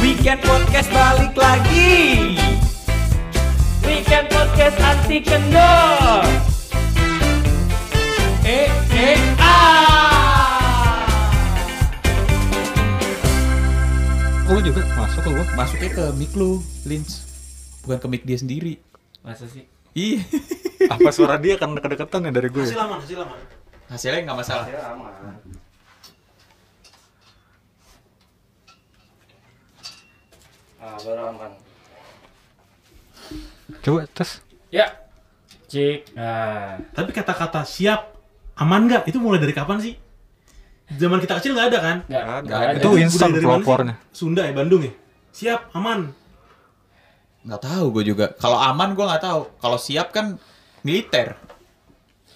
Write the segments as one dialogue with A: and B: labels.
A: Weekend Podcast balik lagi Weekend Podcast anti kendor
B: E,
A: Eh, eh, ah
B: Oh, lu juga masuk ke gua. Masuknya ke mic lu, Lynch. Bukan ke mic dia sendiri.
A: Masa sih?
B: Iya.
C: apa suara dia kan kedekatan ya dari gue
D: Hasil aman, hasil aman.
B: Hasilnya nggak masalah.
D: Hasil aman. Ah, baru aman.
C: coba tes
A: Ya Cik ah.
D: Tapi kata-kata siap, aman nggak? Itu mulai dari kapan sih? Zaman kita kecil nggak ada kan?
B: Ah,
A: Nggak,
C: Nggak ada.
A: nggak ada.
C: Itu
D: Budaya
C: instan
D: dari mana sih?
C: pelopornya.
D: Sunda ya, Bandung ya. Siap, aman.
B: Nggak tahu gua juga. Kalau aman gua nggak tahu. Kalau siap kan militer.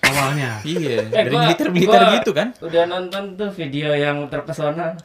D: Awalnya.
B: Iya.
A: Eh,
B: Dari
A: gua-
B: militer-militer
A: gua
B: gitu kan.
A: Udah nonton tuh video yang terpesona.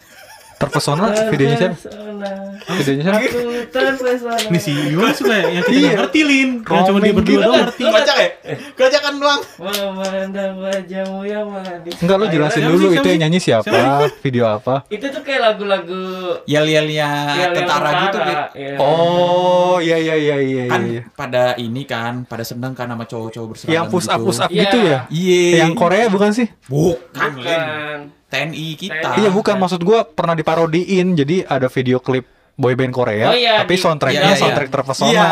C: terpesona videonya siapa
A: Terpesona.
C: videonya siapa
A: Aku terpesona.
D: Nih si Iwan suka ya, yang kita nggak ngerti, Lin. Yang cuma dia
C: Iya. Roaming
D: berdua
C: gila
D: doang
C: kan?
D: ngerti.
B: Kocak ya? Kocakan doang.
A: Memandang wajahmu yang manis.
C: enggak lu jelasin
D: siapa
C: dulu
D: sih,
C: itu
D: siapa
C: yang nyanyi siapa video apa
A: Itu tuh kayak lagu-lagu
B: Yel-yelnya
A: yang
B: tentara gitu, Bit.
A: Iya.
C: oh iya iya iya iya
B: Kan
C: iya
B: pada ini kan, pada seneng kan sama cowok-cowok berseragam
C: yang push up
B: gitu.
C: push up
A: Iya.
C: gitu ya
B: Iya.
C: yang Korea bukan sih
B: Bukan, Lin.
A: Bukan.
B: TNI kita.
A: Ah,
C: iya bukan
A: iya.
C: maksud gue pernah diparodiin jadi ada video klip boyband Korea
A: Oh, iya,
C: tapi
A: di-
C: soundtracknya
A: iya, iya.
C: soundtrack terpesona
B: Iya.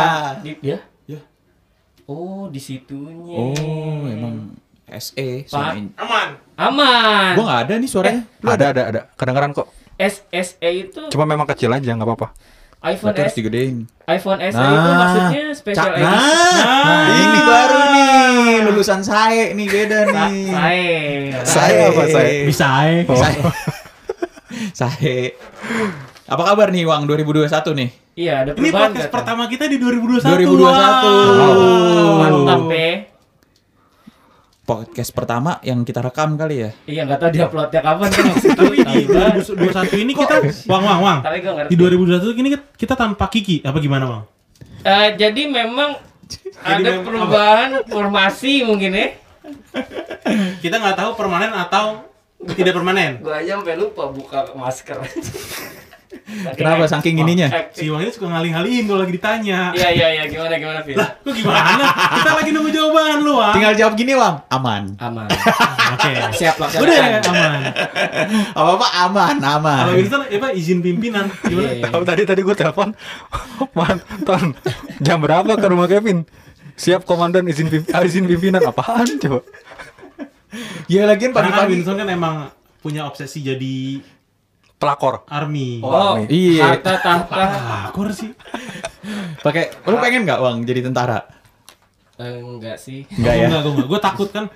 A: Di, ya?
B: Ya.
A: Oh, di situnya.
B: Oh, emang SE.
A: Pak. Eh,
B: suara-
D: Aman.
A: Aman.
B: Gua nggak ada nih suaranya. Lu
C: ada ada ada kedengeran kok
A: SSE E itu
C: cuma memang kecil aja nggak apa-apa
A: iPhone
B: Berarti harus
A: S
B: digedein.
A: iPhone SE itu
B: Nah.
A: maksudnya special
B: Cak-
A: edition.
B: Nah, ini baru nih lulusan saya nih beda
A: Sa- E.
B: nih.
D: Iya.
B: E.
A: Sae.
C: Sae apa, E? Sae?
D: Bisa eh.
C: Oh.
B: Sae. Sae. Apa kabar nih Wang 2021 nih?
A: Iya, ada
D: Ini
A: perubahan
D: podcast
A: nggak tuh?
D: pertama kita di 2021.
B: 2021.
D: Wow.
A: Mantap, Pe.
B: Podcast pertama yang kita rekam kali ya.
A: Iya, nggak tahu dia uploadnya kapan.
D: Tapi di 2021 ini kita wang wang wang.
A: Tapi gua ngerti.
D: Di 2021 ini kita- kita tanpa Kiki apa gimana, Bang?
A: Eh, jadi memang ada
D: memang
A: perubahan formasi mungkin ya.
D: Kita nggak tahu permanen atau tidak permanen.
A: Gua aja sampai lupa buka masker.
B: Kenapa saking ininya?
D: Si Wang ini suka ngalih-ngalihin kalau lagi ditanya.
A: Iya iya iya gimana gimana Fit?
D: Lah, kok gimana? Kita lagi nunggu jawaban lu, Wang.
B: Tinggal jawab gini Wang, aman.
A: Aman.
D: Oke.
A: Siap Ah, iya. laksanakan.
D: Udah aman.
B: Apa-apa aman, aman.
D: Kalau Winston ya Pak izin pimpinan.
A: Iya,
D: Gimana?
A: iya.
C: Tahu tadi tadi gue telepon mantan jam berapa ke rumah Kevin? Siap komandan izin pimp- ah, izin pimpinan apaan coba?
B: Ya lagian
D: Karena kan
B: pagi-pagi.
D: Winston kan emang punya obsesi jadi
C: Pelakor.
D: army. Ah,
A: Oh,
C: Warni.
B: Iya.
A: Harta tahta.
D: Aku sih.
B: Pakai lu pengen nggak Wang jadi tentara?
A: Eh, enggak sih.
B: Nggak ya?
D: Enggak, gue enggak. Gue takut kan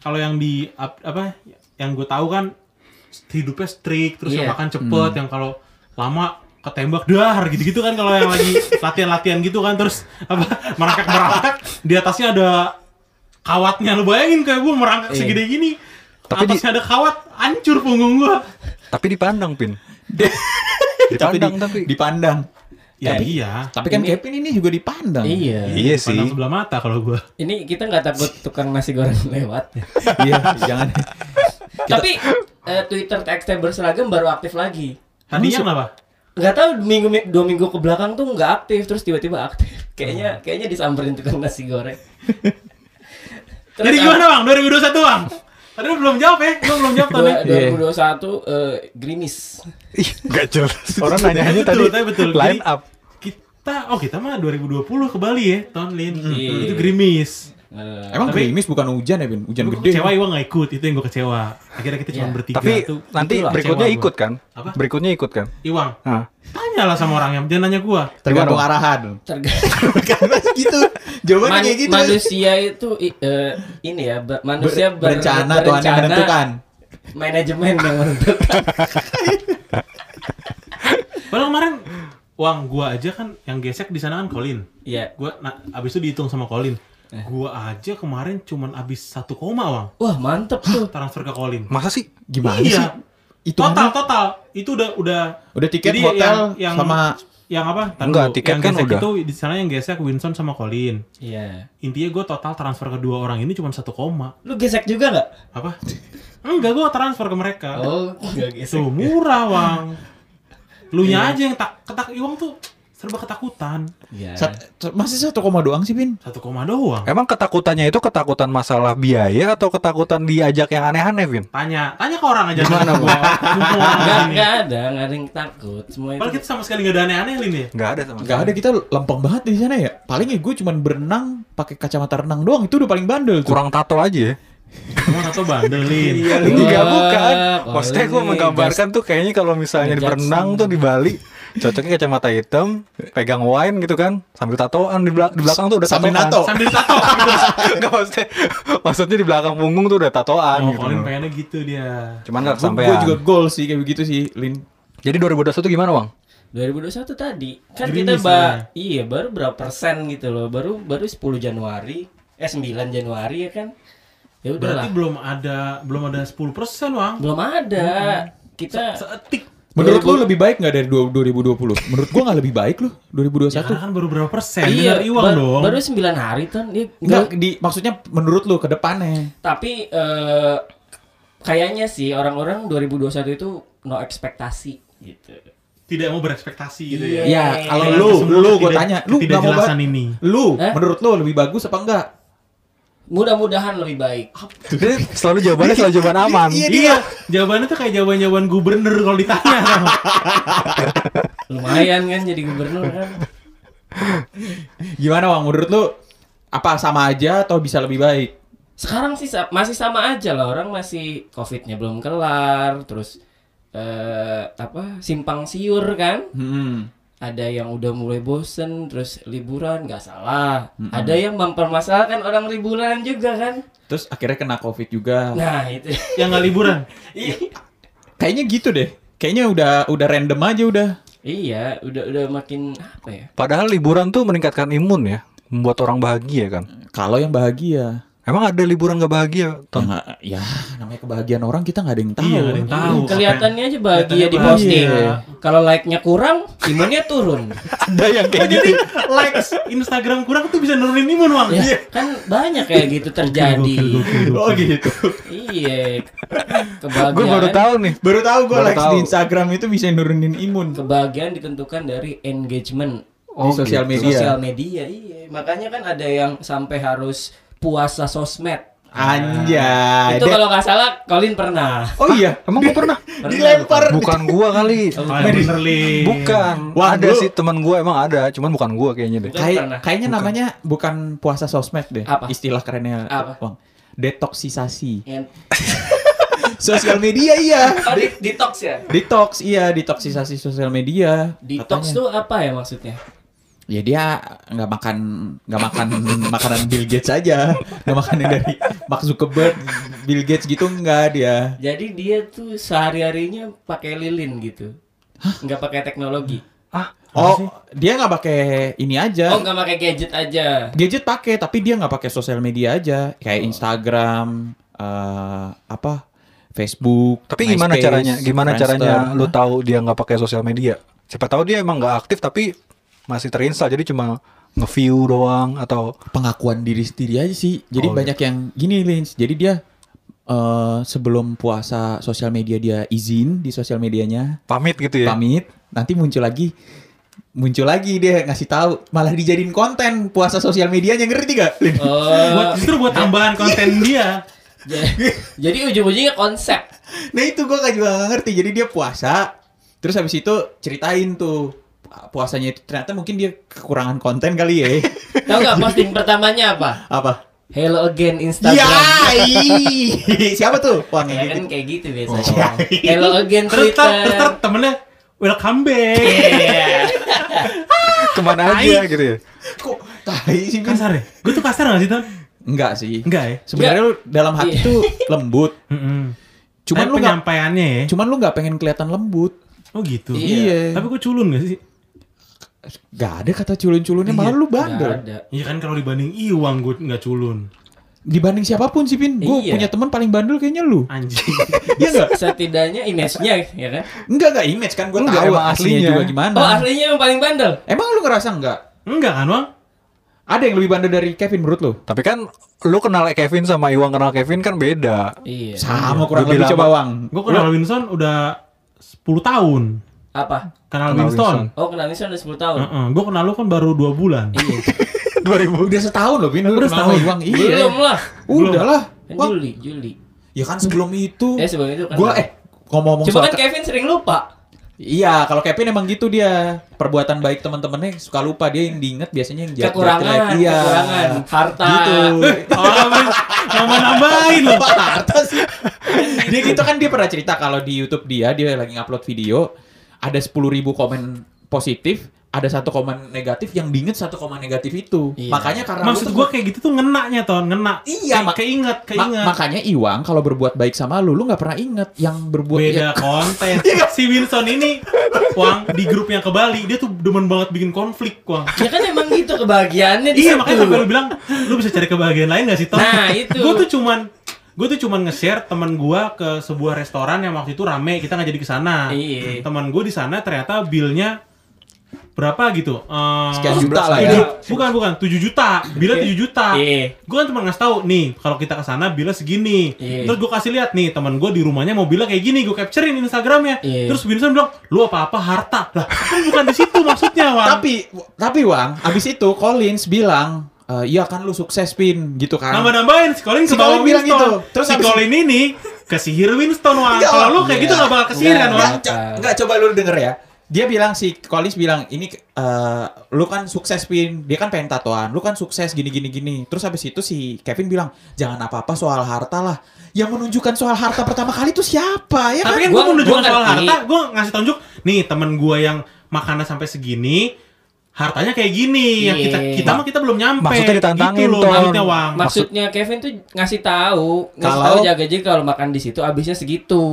D: kalau yang di ap- apa yang gue tahu kan hidupnya strict terus
A: Iya.
D: yang makan cepet yang kalau lama ketembak dahar gitu-gitu kan kalau yang lagi latihan-latihan gitu kan terus apa merangkak-merangkak di atasnya ada kawatnya lu bayangin kayak gue merangkak
A: Iya.
D: segede gini
C: Tapi di-
D: atasnya ada kawat hancur punggung gue
C: Tapi dipandang pin. Dipandang tapi.
B: dipandang.
D: ya
B: Tapi-
D: iya
B: Tapi kan
A: Ini-
B: Kevin ini juga dipandang.
A: Iya.
C: Iya
D: pandang
C: sih.
D: sebelah mata kalau gue
A: Ini kita nggak takut tukang nasi goreng lewat.
B: Iya, jangan.
A: Tapi eh, Twitter TXT berseragam baru aktif lagi.
D: tadinya kenapa
A: Nggak tahu minggu mi- dua minggu ke belakang tuh nggak aktif terus tiba-tiba aktif.
B: Oh.
A: Kayaknya kayaknya disamperin tukang nasi goreng. Terus
D: jadi
A: apa-
D: gimana bang 2021 bang Tadi lu belum jawab ya, lu belum jawab tadi.
A: Dua- 2021 eh, gerimis.
C: Ih, Nggak jelas. Orang nanyanya tadi
D: Betul, tapi betul.
C: line
D: Jadi-
C: up.
D: kita oh kita mah 2020 ke Bali ya tahun lin
C: Hmm.
A: Iya.
D: itu gerimis
A: Eh,
B: Emang gerimis bukan hujan ya, Bin? Hujan
D: gue
B: gede.
D: kecewa Iwa nggak ikut itu yang gue kecewa akhirnya kita cuma
A: Iya.
D: bertiga
C: Tapi
D: tuh
C: nanti
D: Itulah
C: berikutnya
D: kecewa gua.
C: ikut kan?
D: Apa?
C: Berikutnya ikut kan?
D: Iwang
C: Nah,
D: tanyalah sama orangnya jangan nanya gue
B: Tergantung
C: Gimana?
B: arahan.
A: tergantung
B: Karena gitu. Jawabannya
A: Man-
B: kayak gitu.
A: manusia itu i- eh, ini ya ber- manusia
B: Ber- berencana
A: ber-
B: Tuhan yang
A: berencana,
B: menentukan.
A: manajemen yang menentukan
D: padahal kemarin uang gue aja kan yang gesek di sana kan Colin
A: Iya.
D: gue nah, abis itu dihitung sama Colin
C: Eh.
D: gue aja kemarin cuman abis satu koma uang
A: wah mantep tuh
D: transfer ke Colin
C: masa sih?
B: Gimana
D: Iya.
B: sih? Itu
D: total total itu udah udah
B: Udah tiket
D: Jadi
B: hotel
D: yang- yang-
B: sama
D: yang apa Tahan
C: Enggak,
D: dulu.
C: tiket
D: yang
C: kan
D: gesek
C: udah.
D: itu di sana yang gesek Winston sama Colin
A: iya
D: intinya gue total transfer kedua orang ini cuma satu koma
A: lu gesek juga nggak
D: apa enggak gue transfer ke mereka
A: oh nggak gesek
D: tuh murah wang Lu nya aja yang tak ketak Iwang tuh serba ketakutan.
A: Iya.
B: Sat- masih 1,2 doang sih, Pin.
D: Satu koma doang.
C: Emang ketakutannya itu ketakutan masalah biaya atau ketakutan diajak yang aneh-aneh, Vin?
D: Tanya, tanya ke orang aja. Gimana gua? Semua
A: Nggak,
D: orang ini.
A: nggak ada, nggak ada yang takut. Semua itu.
D: Padahal kita sama sekali nggak ada aneh-aneh Lin ya.
C: Nggak ada sama
B: Gak ada kita lempeng banget di sana ya. Paling ya gue cuman berenang pakai kacamata renang doang itu udah paling bandel tuh.
C: Kurang tato aja ya.
D: Cuma atau bandelin.
A: Iya, lu.
C: Enggak
A: Wah,
C: bukan.
B: Oh,
A: kalau
C: Maksudnya
B: iya,
C: gue
A: ini
C: menggambarkan tuh kayaknya kalau misalnya di
A: ngejudge
C: berenang tuh di Bali, cocoknya kacamata hitam, pegang wine gitu kan, sambil tatoan di, belak- di belakang tuh udah
B: Sambil
C: tatoan.
B: nato.
D: Sambil tato.
C: Iya, Enggak maksudnya, maksudnya di belakang punggung tuh udah tatoan
D: Oh,
C: gitu.
D: Colin pengennya gitu dia.
C: Cuman nggak
B: Gue
C: sampai.
B: gue juga goal sih kayak begitu sih, Lin.
C: Jadi 2021 gimana, Bang?
A: 2021 tadi kan
D: Gerimis
A: kita ba
D: sebenarnya.
A: iya baru berapa persen gitu loh baru baru 10 Januari eh 9 Januari ya kan ya
D: Berarti
A: udahlah
D: belum ada belum ada 10% Wang.
A: belum ada kita
D: Seetik.
B: Menurut lu lebih baik nggak dari du- 2020? Menurut gue nggak lebih baik lu 2021.
D: Ya, karena kan baru berapa persen?
A: iya
D: Bener Iwang
A: ba-
D: dong.
A: baru 9 hari ton ya,
B: Enggak,
A: gua-
B: di maksudnya menurut lu ke depannya.
A: tapi eh, kayaknya sih orang-orang 2021 itu no ekspektasi gitu
D: Tidak mau berekspektasi gitu
A: Iya.
D: ya.
B: Ya,
A: Eh,
B: kalau
D: Dengan
B: lu
D: kesemua
B: lu gue
D: ketidak-
B: tanya, lu nggak mau
D: ketidakjelasan
B: ba-
D: ini.
B: Lu
A: Hah?
B: menurut lu lebih bagus apa enggak?
A: mudah-mudahan lebih baik
C: Jadi selalu jawabannya selalu jawaban aman.
B: Iya,
D: Iya, jawabannya tuh kayak jawaban-jawaban gubernur kalau ditanya.
A: lumayan kan jadi gubernur kan
B: Gimana Wang menurut lu apa sama aja atau bisa lebih baik?
A: sekarang sih sa- masih sama aja lah orang masih covidnya belum kelar terus eh apa simpang siur kan
B: Hmm.
A: ada yang udah mulai bosen terus liburan nggak salah ada yang mempermasalahkan orang liburan juga kan
B: Terus akhirnya kena Covid juga.
D: Oh.
A: nah itu
D: yang nggak liburan.
A: I-
B: Kayaknya gitu deh. Kayaknya udah udah random aja udah.
A: iya udah udah makin apa ya
C: Padahal liburan tuh meningkatkan imun ya, membuat orang bahagia kan.
B: Kalau yang bahagia,
C: Emang ada liburan gak bahagia?
B: ya,
C: Ton?
B: nggak- ya namanya kebahagiaan orang kita nggak ada yang tahu.
D: Iya, nggak ada yang tahu. apa
A: kelihatannya aja bahagia
D: kan? kelihatannya
A: di posting
D: bahagia.
A: kalau like nya kurang imunnya turun
C: ada yang
B: Oh,
C: kayak gitu.
D: Jadi likes Instagram kurang tuh bisa nurunin imun, Iya. Wang.
A: ya, kan banyak kayak gitu terjadi
D: Gokil, gokil, gokil.
B: Oh gitu.
A: iya
C: Gue baru
A: kebahagiaan
C: tahu nih.
B: Baru tahu gue
C: Baru
B: likes
C: tahu.
B: di Instagram itu bisa nurunin imun Oh,
A: kebahagiaan ditentukan dari engagement
B: di sosial media.
A: sosial media iya makanya kan ada yang sampai harus puasa sosmed
B: Anjay.
A: itu
B: Dek.
A: kalau nggak salah Colin pernah
B: Oh iya, Oh,
C: Emang gue pernah?
B: dilempar.
C: Bukan gua kali.
D: Ah, bener, Lin.
C: Bukan.
B: Wah,
C: ada
B: lu-
C: sih teman gua emang ada, cuman bukan gua kayaknya deh.
A: Bukan
B: Kayak-
A: pernah.
B: kayaknya namanya bukan puasa sosmed deh.
A: Apa?
B: Istilah kerennya
A: Apa?
B: Wang. Detoksisasi.
A: Yang-
B: sosial media iya.
A: Iya. oh, di- detox ya
B: Detox iya, detoksisasi sosial media.
A: detox
B: katanya.
A: tuh apa ya maksudnya
B: ya dia nggak makan nggak makan makanan Bill Gates aja nggak makan yang dari Mark Zuckerberg Bill Gates gitu nggak dia
A: jadi dia tuh sehari harinya pakai lilin gitu nggak pakai teknologi
B: oh dia nggak pakai ini
A: oh
B: aja
A: nggak pakai gadget aja
B: gadget pakai tapi dia nggak pakai sosial media aja kayak Instagram eh, apa Facebook
C: Tapi gimana
B: MySpace,
C: caranya? Gimana
B: Friendster.
C: caranya lu tahu dia nggak pakai sosial media? Siapa tahu dia emang nggak aktif tapi masih terinstall jadi cuma nge-view doang atau
B: pengakuan diri sendiri aja sih jadi
C: Oh,
B: banyak yang gini Lins jadi dia eh, sebelum puasa sosial media dia izin di sosial medianya
C: pamit gitu ya.
B: pamit nanti muncul lagi muncul lagi dia ngasih tahu malah dijadiin konten puasa sosial medianya ngerti gak Lin?
A: oh
D: Buat justru buat tambahan konten dia.
A: ja- jadi ujung ujungnya konsep
B: nah itu gua gak juga gak ngerti jadi dia puasa terus habis itu ceritain tuh puasanya itu ternyata mungkin dia kekurangan konten kali ya
A: tahu nggak posting pertamanya apa
B: apa
A: hello again Instagram
B: ya ih. siapa tuh Wang
A: Ya
B: yang gitu?
A: kan kayak gitu
B: Oh.
A: biasanya. Hello again
D: Terus ter,
A: Twitter.
D: terus ter, temennya welcome back.
A: Iya.
C: Kemana aja gitu ya?
B: kok tai sih Min?
D: Kasar ya? Gue tuh kasar gak sih, Ton?
B: enggak sih
D: Enggak ya?
B: sebenarnya lu dalam hati
A: Iya.
B: tuh lembut
D: Mm-mm.
B: cuman
D: Tapi
B: lu nggak
D: penyampaiannya ya.
B: cuman lu nggak pengen kelihatan lembut
D: Oh gitu.
B: Iya.
D: Tapi gue culun gak sih?
B: Gak ada kata culun-culunnya malah lu
A: Nggak
B: bandel
A: ada.
D: Iya kan kalau dibanding Iwang gue nggak culun.
B: Dibanding siapapun sih Pin, gue
A: Iya.
B: punya teman paling bandel kayaknya lu.
D: Anjing.
B: Iya enggak?
A: Setidaknya image-nya ya kan.
B: Enggak enggak image kan gue
C: Enggak,
B: tahu
C: emang
B: aslinya
C: aslinya.
B: juga gimana.
A: Oh, aslinya yang paling bandel.
B: Emang lu ngerasa enggak?
D: Enggak kan, Wang?
B: Ada yang lebih bandel dari Kevin menurut lu?
C: Tapi kan lu kenal Kevin sama Iwan kenal Kevin kan beda.
A: Iya.
B: Sama
C: Lebih lama.
B: Wang.
D: Gue kenal Wilson udah 10 tahun.
A: Apa?
D: Kenal
C: Kenal
D: Winston.
A: Oh, kenal Nisha udah 10 tahun.
D: Heeh, gua kenal lu kan baru 2 bulan.
B: Iya.
C: 2000
B: Udah setahun loh, Bin. Lu
D: Udah
B: kenal sama
D: setahun.
B: Iwang.
A: Belum lah.
B: Udah lah.
A: Kan
B: Iya. Wah,
A: Juli, Juli.
B: Ya kan sebelum itu.
A: Ya sebelum itu kan.
B: Gua eh ngomong-ngomong
A: Cuma
B: soal
A: kan Kevin sering lupa.
B: Iya, kalau Kevin emang gitu dia. Perbuatan baik teman-temannya suka lupa dia yang diinget biasanya yang jelek
A: Kekurangan,
B: Iya.
A: kekurangan, harta.
B: Gitu.
D: Orang mau nambahin loh.
B: Harta sih. dia gitu kan dia pernah cerita kalau di YouTube dia dia lagi ngupload video ada 10.000 komen positif, ada satu komen negatif yang diinget satu komen negatif itu.
A: Iya.
B: Makanya karena lu
D: Maksud
B: tuh-
D: gua kayak gitu tuh ngenaknya, Ton, ngena.
B: Iya,
D: Kayak
B: mak-
D: keinget,
B: Ma-
D: keinget.
B: makanya Iwang kalau berbuat baik sama lu, lu nggak pernah inget yang berbuat ya,
D: beda konten.
B: Iya.
D: si Wilson ini, Wang, di grup yang ke Bali, dia tuh demen banget bikin konflik, Wang.
A: Ya kan emang gitu kebahagiaannya di
D: Iya,
A: situ.
D: makanya sampai lu bilang, lu bisa cari kebahagiaan lain gak sih, Tom?
A: Nah, itu.
D: Gue tuh cuman, gue tuh cuman nge-share teman gua ke sebuah restoran yang waktu itu rame, kita nggak jadi ke sana.
A: Iya.
D: Teman gue di sana ternyata billnya berapa gitu? Eh,
B: Sekian juta lah ya.
D: tujuh- Bukan, bukan, 7 juta. Bila 7 juta.
A: Iya.
D: Gue kan cuma ngasih tahu nih, kalau kita ke sana bila segini.
A: Iya.
D: Terus gue kasih lihat nih, teman gue di rumahnya mobilnya kayak gini, gue capturein Instagramnya.
A: Iya.
D: Terus Wilson bilang, "Lu apa-apa harta." Lah, kan bukan di situ maksudnya, Wang.
B: Tapi tapi Wang, abis itu Collins bilang, "Eh, "Iya kan lu sukses pin," gitu kan.
D: Nambah-nambahin, si Colin
B: Si
D: ke bawah
B: Colin bilang
D: Winston.
B: gitu. Terus
D: si
B: habis-
D: Colin ini kesihir Winston, Wang.
B: Enggak, Iya,
D: Kalau
B: Wang.
D: lu kayak gitu gak bakal kesihir kan,
B: Enggak,
D: Wang.
B: co- enggak, coba lu denger ya. eh, Dia bilang si Collins bilang ini eh, lu kan sukses pin, dia kan pengen tatoan, lu kan sukses gini gini gini. Terus habis itu si Kevin bilang jangan apa apa soal harta lah. Yang menunjukkan soal harta pertama kali itu siapa ya kan?
D: Tapi kan gue
A: Gua-
D: menunjukkan
A: gua
D: soal
A: ngerti.
D: harta, gue ngasih tunjuk, nih temen gue yang makannya sampai segini, hartanya kayak gini. Yang kita
A: Iya.
D: kita mah kita belum nyampe.
C: Maksudnya ditantangin,
D: gitu loh,
C: Ton.
D: maksudnya, Wang.
A: Maksudnya Kevin tuh ngasih tahu, ngasih
B: Kalau-
A: tahu jaga jaga kalau makan di situ habisnya segitu.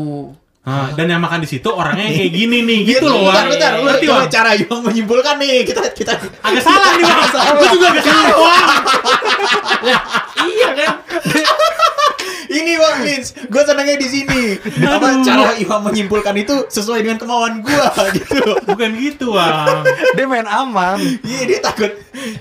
D: Nah, dan yang makan di situ orangnya yang kayak gini nih, gitu loh,
B: Iya, Bentar,
D: Wang.
B: bentar, lu
D: Ngerti,
B: coba
D: Wang?
B: cara Yong menyimpulkan nih. Kita kita
D: Agak salah nih, Wang. Gue juga agak salah, Wang.
A: iya kan?
B: Ini Wang Lins, gue senangnya di sini. Apa
D: Aduh.
B: cara Iwan menyimpulkan itu sesuai dengan kemauan gue gitu. loh.
D: Bukan gitu, Wang.
C: Dia main aman.
B: Iya dia takut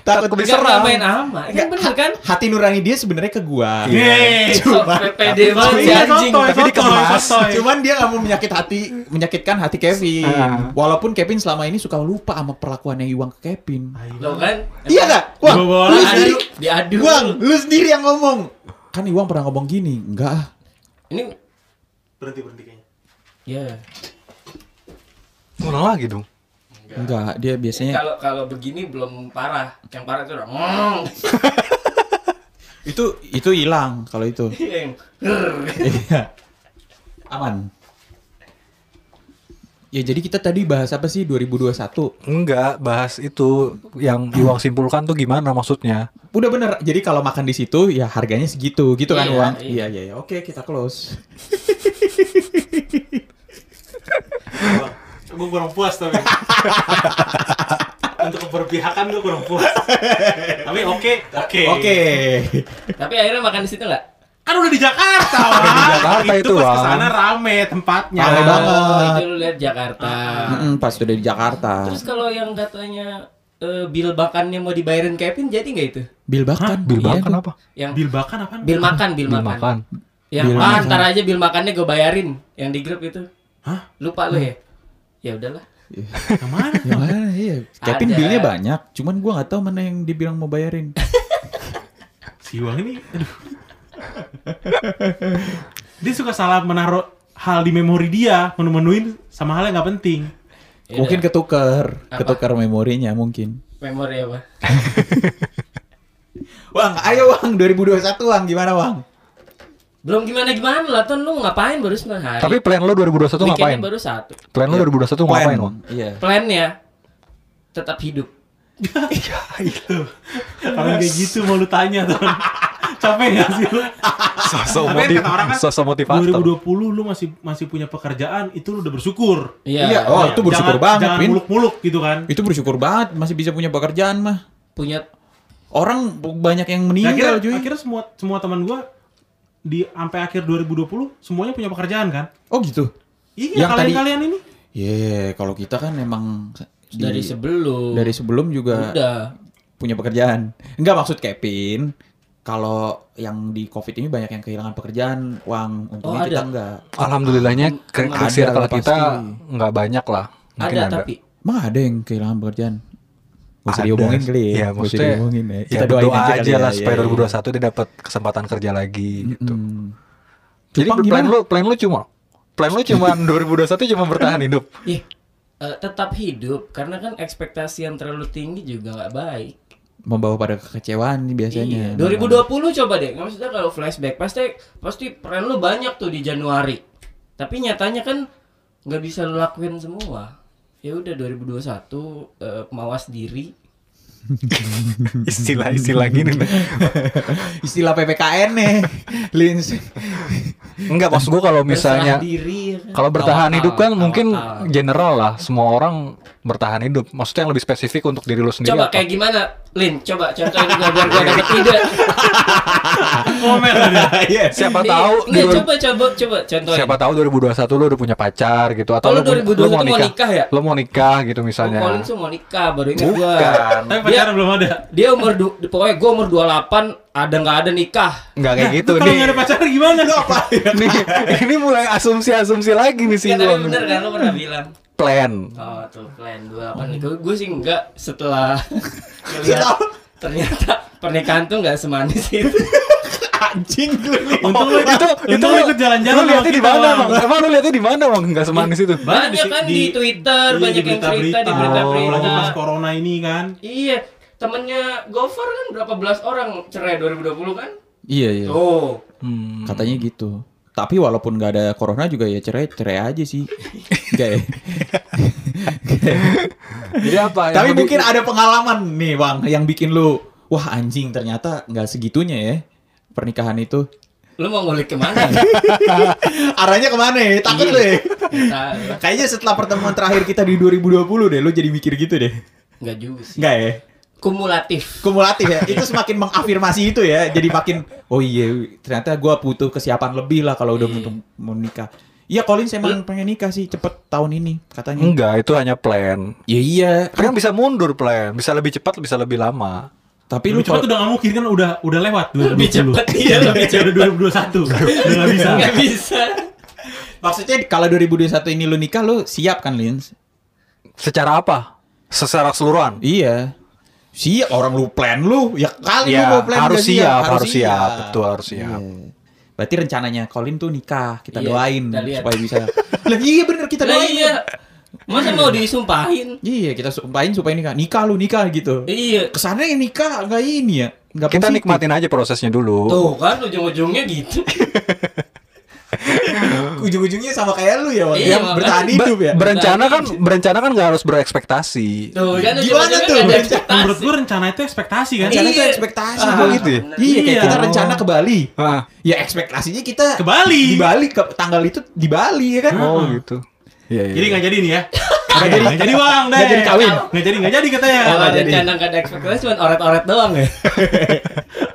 B: takut
C: Takut
A: Enggak
C: Diserang.
A: main aman. Kan bener kan?
B: Hati nurani dia sebenarnya ke gua.
C: Iya.
D: Yeay.
A: So,
B: Cuma-
A: PPD banget ya.
D: Sotoy,
A: si
D: iya,
A: anjing.
D: sotoy,
C: tapi
D: sotoy,
C: dikemas.
D: sotoy.
B: Cuman dia nggak mau menyakit hati, menyakitkan hati Kevin.
C: Ah.
B: Walaupun Kevin selama ini suka lupa sama perlakuannya Iwang ke Kevin.
A: Lo kan?
B: Iya nggak? Wang,
D: Ah, Dibawa
B: lu
D: lagi.
B: sendiri,
A: Diadu, diadu.
B: Wang, lu sendiri yang ngomong. Kan Iwang pernah ngomong gini, enggak ah.
A: Ini
D: Berhenti, berhenti kayaknya.
A: ya.
C: Ulang lagi dong.
B: Enggak, dia biasanya
A: Kalau kalau begini belum parah. Yang parah itu udah. "Mm."
B: itu itu hilang kalau itu.
A: Yang,
B: Iya. Aman. Ya jadi kita tadi bahas apa sih 2021?
C: Enggak, bahas itu yang Iwang simpulkan tuh gimana maksudnya.
B: Udah bener. Jadi kalau makan di situ ya harganya segitu gitu kan
A: Iya,
B: uang. Iya
A: iya.
B: iya iya. Oke kita close.
D: Gue kurang puas tapi. Untuk keberpihakan gue kurang puas. Tapi oke, oke.
B: Oke.
A: Tapi akhirnya makan di situ nggak?
D: Kan udah di Jakarta, Wang.
C: di Jakarta itu,
D: pas
C: Wang.
D: kesana rame tempatnya.
B: Rame banget.
A: Oh,
B: Eh.
A: itu lu lihat Jakarta.
B: Mm-mm, pas udah di Jakarta.
A: Terus kalau yang katanya eh, bil makannya mau dibayarin Kevin jadi nggak itu?
B: Bil bahkan.
C: Bil
B: Iya,
C: bahkan
B: gua-
C: apa?
A: Yang
D: Bil bahkan apa?
A: bil makan, bil,
C: Bil
A: makan.
C: makan.
A: Yang
B: Bil
A: ah,
B: makan.
A: ntar aja bil makannya gue bayarin yang di grup itu.
D: Hah?
A: Lupa lu ya? Ya udahlah.
D: Yang mana?
B: Yang mana? Iya. Kevin
A: Ada.
B: bilnya banyak. Cuman gua nggak tahu mana yang dibilang mau bayarin.
D: Si Wang ini, aduh. Dia suka salah menaruh hal di memori dia, menu-menuin sama hal yang nggak penting.
A: Ya
B: mungkin
A: udah.
B: ketuker,
A: Apa?
B: ketuker memorinya mungkin.
A: memori apa?
B: Wang, ayo Wang 2021 Wang gimana Wang?
A: Belum gimana gimana lah ton lu ngapain baru sembilan hari?
C: Tapi plan lo 2021
A: Weekendnya
C: ngapain?
A: baru satu.
C: Plan lo 2021 ngapain, Wang?
B: Iya.
A: Plannya tetap hidup.
D: Itu. Kalau kayak gitu mau lu tanya, Ton. Capek nggak sih lu?
C: Sosok
D: Tapi
C: motiv
D: kata orang kan,
C: sosok motivator.
D: 2020 lu masih masih punya pekerjaan, itu lu udah bersyukur.
B: Iya, oh, itu bersyukur
D: jangan,
B: banget,
D: Jangan
B: Pin.
D: muluk-muluk gitu kan.
B: Itu bersyukur banget masih bisa punya pekerjaan mah.
A: punya
B: Orang banyak yang
D: Nah, akhirnya,
B: meninggal Iya, cuy.
D: akhirnya semua semua teman gua di sampai akhir 2020 semuanya punya pekerjaan kan?
B: Oh gitu.
D: Iya,
B: Yang tadi-
D: kalian-kalian ini.
B: Iya, kalau kita kan emang di-
A: dari sebelum.
B: dari sebelum
C: eh,
B: juga
A: udah.
B: punya pekerjaan. Enggak maksud Kevin, kalau yang di Covid ini banyak yang kehilangan pekerjaan, uang untungnya
A: Oh,
B: kita
A: ada.
B: enggak.
C: Alhamdulillahnya ke, ke
B: Ada
C: circle
B: lah pasti.
C: kita nggak banyak lah. Mungkin
A: ada,
C: ada.
A: tapi
B: Emang ada yang kehilangan pekerjaan? Gak usah
C: Ada.
B: diomongin kali ya.
C: Iya,
B: Nggak usah
C: maksudnya
B: diomongin ya.
C: Kita doa aja,
B: kali
C: lah
B: ya,
C: supaya
B: iya, iya.
C: 2021 dia dapat kesempatan kerja lagi gitu.
B: Hmm.
C: Jadi
B: Cupang
C: plan
B: gimana?
C: lu plan lu cuma plan lu cuma 2021 cuma bertahan hidup.
A: ih eh, tetap hidup karena kan ekspektasi yang terlalu tinggi juga nggak baik.
B: Membawa pada kekecewaan nih biasanya.
A: Iya. 2020 coba deh. Nggak maksudnya kalau flashback pasti pasti plan lu banyak tuh di Januari. Tapi nyatanya kan nggak bisa lu lakuin semua. Ya udah 2021 eh, mawas diri.
C: Istilah-istilah gini. nih.
B: Istilah PPKN nih. Lins.
C: Enggak maksud gua kalau misalnya
A: Berserah diri ya kan.
C: kalau bertahan
A: Tawakal,
C: hidup kan mungkin
A: tawakal.
C: general lah semua orang bertahan hidup. Maksudnya yang lebih spesifik untuk diri lu sendiri.
A: Coba
C: apa?
A: kayak gimana? Lin, coba contohin gua biar gua dapet ide.
D: Komen dia.
B: Iya.
C: siapa
A: Nih,
C: tahu di
A: nggak,
C: dua-
A: coba coba coba contohin.
C: siapa tahu 2021 lu udah punya pacar gitu atau
A: Oh, lu
C: lu,
A: 2021
C: punya- lu mau
A: mau
C: nikah.
A: nikah ya?
C: Lu mau nikah gitu misalnya.
A: Oh, Colin tuh mau nikah baru ingat gua.
C: Bukan.
D: Tapi pacaran
A: Iya.
D: belum ada.
A: Dia umur du- pokoknya gua umur 28 ada nggak ada nikah.
C: Enggak kayak gitu
D: Lu Kalau
C: nih.
D: nggak ada pacar gimana? Lu apa?
C: Nih, ini mulai asumsi-asumsi lagi
A: Iya
C: nih
A: tapi
C: singgung.
A: bener kan lu pernah bilang.
C: Plan.
A: Oh tuh plan 28
C: Hmm.
A: nikah. Gue sih enggak setelah melihat ternyata pernikahan tuh nggak semanis itu.
B: Anjing lu nih.
D: Untung lu
C: itu itu
D: lu ikut jalan-jalan
C: lu lihatnya
D: sama
C: di
D: kita,
C: mana
D: Bang.
C: bang emang lu lihatnya di mana bang nggak semanis itu
A: Banyak kan di Twitter,
D: iya,
A: banyak yang cerita di berita-berita.
D: Apalagi pas corona ini kan.
A: Iya, temennya Gofar kan berapa belas orang cerai 2020 kan? Oh,
B: Iya iya.
A: Tuh.
C: Hmm.
B: Katanya gitu. Tapi walaupun nggak ada corona juga ya cerai cerai aja sih. Enggak ya.
C: jadi apa yang
B: Tapi
C: lebih-
B: mungkin ada pengalaman nih bang yang bikin lu wah anjing ternyata nggak segitunya ya pernikahan itu.
A: Lu mau ngulik kemana? ya?
B: Arahnya kemana ya? Takut lu ya?
A: Kita
B: Kayaknya setelah pertemuan terakhir kita di 2020 deh, lu jadi mikir gitu deh.
A: nggak juga sih.
B: Enggak ya?
A: Kumulatif.
B: Kumulatif ya. Itu semakin mengafirmasi itu ya. Jadi makin oh iya ternyata gua butuh kesiapan lebih lah kalau udah
A: Iya.
B: untuk mau nikah. Iya Colin saya emang pengen nikah sih cepet tahun ini katanya.
C: enggak itu hanya plan
B: Iya iya.
C: kan bisa mundur plan bisa lebih cepat bisa lebih lama
B: Tapi lu
D: Lebih cepat
B: kalau-
D: tuh udah nggak mungkin kan udah udah lewat
A: Lebih
D: 2020.
A: cepet, iya, lebih
D: Udah 2021. Udah nggak bisa.
A: Nggak bisa.
B: maksudnya kalau 2021 ini lu nikah lu siap kan Lins?
C: secara apa secara keseluruhan
B: Iya. Siap orang lu plan lu ya kali
C: Iya,
B: lu mau plan udah
C: harus siap, harus siap. Betul, harus siap.
B: Iya. Berarti rencananya Colin tuh nikah, kita
A: Iya,
B: doain
A: kita lihat.
B: supaya bisa. Lah iya bener kita
A: Lah
B: doain.
A: iya. Masa mau disumpahin?
B: Iya, kita sumpahin supaya nikah. Nikah lu nikah gitu.
A: Iya.
B: Kesannya yang nikah enggak ini ya. Enggak
C: kita nikmatin aja prosesnya dulu
A: Tuh kan ujung-ujungnya gitu.
B: ya? ujung-ujungnya sama kayak lu ya, Wak.
A: Iya,
B: yang
A: makanya.
B: bertahan
C: Be-
B: hidup ya.
C: berencana kan berencana kan nggak harus berekspektasi
A: Tuh kan
B: Gimana
A: ujung-ujungnya
B: tuh?
A: nggak ada
B: Menurut
D: Menurut
A: ekspektasi.
D: gua rencana itu ekspektasi kan.
B: Rencana itu
A: Iya.
B: ekspektasi,
C: Ah,
B: Bang.
C: gitu ya?
B: Iya, kayak
D: Iya.
B: kita rencana ke Bali.
C: Ah.
B: Ya ekspektasinya kita
D: Ke Bali.
B: Di Bali ke tanggal itu di Bali ya kan.
C: oh gitu Iya, iya.
D: Jadi nggak jadi nih ya. Nggak jadi. Nggak jadi bang.
B: Nggak jadi kawin.
D: Nggak jadi nggak jadi katanya.
A: Kalau rencana Oh, nggak ada ekspektasi cuma oret-oret doang ya.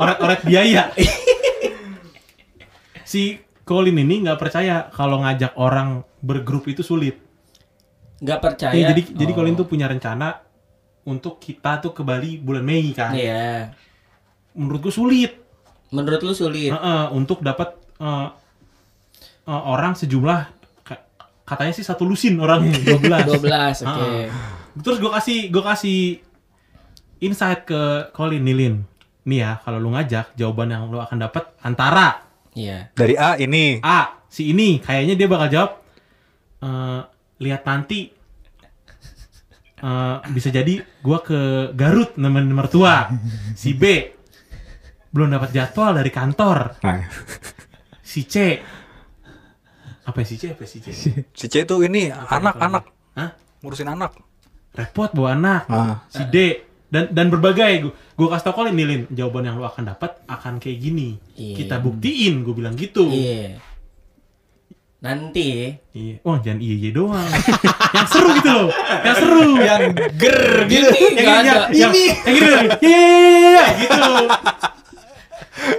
D: Oret-oret biaya. si Colin ini nggak percaya kalau ngajak orang bergrup itu sulit.
A: Nggak percaya.
D: Iya, jadi jadi
A: Oh.
D: Colin tuh punya rencana untuk kita tuh ke Bali bulan Mei kan.
A: Iya.
D: Menurut gua sulit.
A: Menurut lu sulit.
D: Heeh, untuk dapat eh, eh, orang sejumlah ka- katanya sih satu lusin orangnya 12.
A: 12, oke.
D: Heeh. Terus gue kasih gue kasih insight ke Colin Nilin. Nih ya, kalau lu ngajak, jawaban yang lu akan dapat antara
A: Iya.
C: dari A ini
D: A, si ini kayaknya dia bakal jawab eh lihat nanti Eh, bisa jadi gua ke Garut nemenin mertua. Si B belum dapat jadwal dari kantor.
C: Nah,
D: Si C apa ya si C apa ya si C?
C: si C itu ini anak-anak
D: Hah?
C: ngurusin anak
D: repot bawa anak
C: Ah.
D: si D dan dan berbagai gue kasih tau Colin nih Lin jawaban yang lo akan dapat akan kayak gini
A: Iya.
D: kita buktiin gue bilang gitu
A: Iya. Nanti
D: iya wah jangan iya iya doang yang seru gitu loh yang seru yang
B: Ger gitu.
A: Ini nggak
D: yang,
A: ada.
D: yang, yang,
B: Ini.
D: yang gitu loh. Yeay, gitu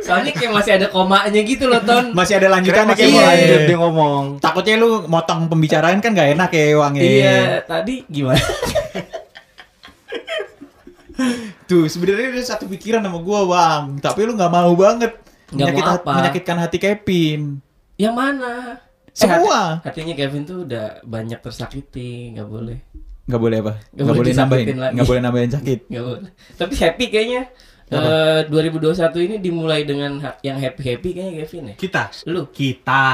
A: Soalnya kayak masih ada komanya gitu loh, Ton.
B: Masih ada
C: kira
B: lanjutan
C: masih
B: kayak
C: mau lanjut dia
B: iya.
C: ngomong
B: Takutnya lu motong pembicaraan kan gak enak ya Wang ya.
D: Eh.
A: Iya, tadi gimana?
B: Tuh sebenarnya ada satu pikiran sama gua Bang, tapi lu nggak mau banget
A: Nggak mau
B: menyakit-
A: apa?
B: menyakitkan hati Kevin.
A: Yang mana? Eh, hati-
B: Semua.
A: hatinya Kevin tuh udah banyak tersakiti, nggak boleh.
B: Nggak boleh apa?
A: Nggak
B: Nggak,
A: boleh
B: boleh nambahin.
A: disakitin lagi.
B: Nggak boleh nambahin sakit.
A: Nggak boleh. Tapi happy kayaknya. Eh 2021 ini dimulai dengan ha- yang happy-happy kayaknya Kevin ya.
D: Kita.
A: Lu.
D: Kita.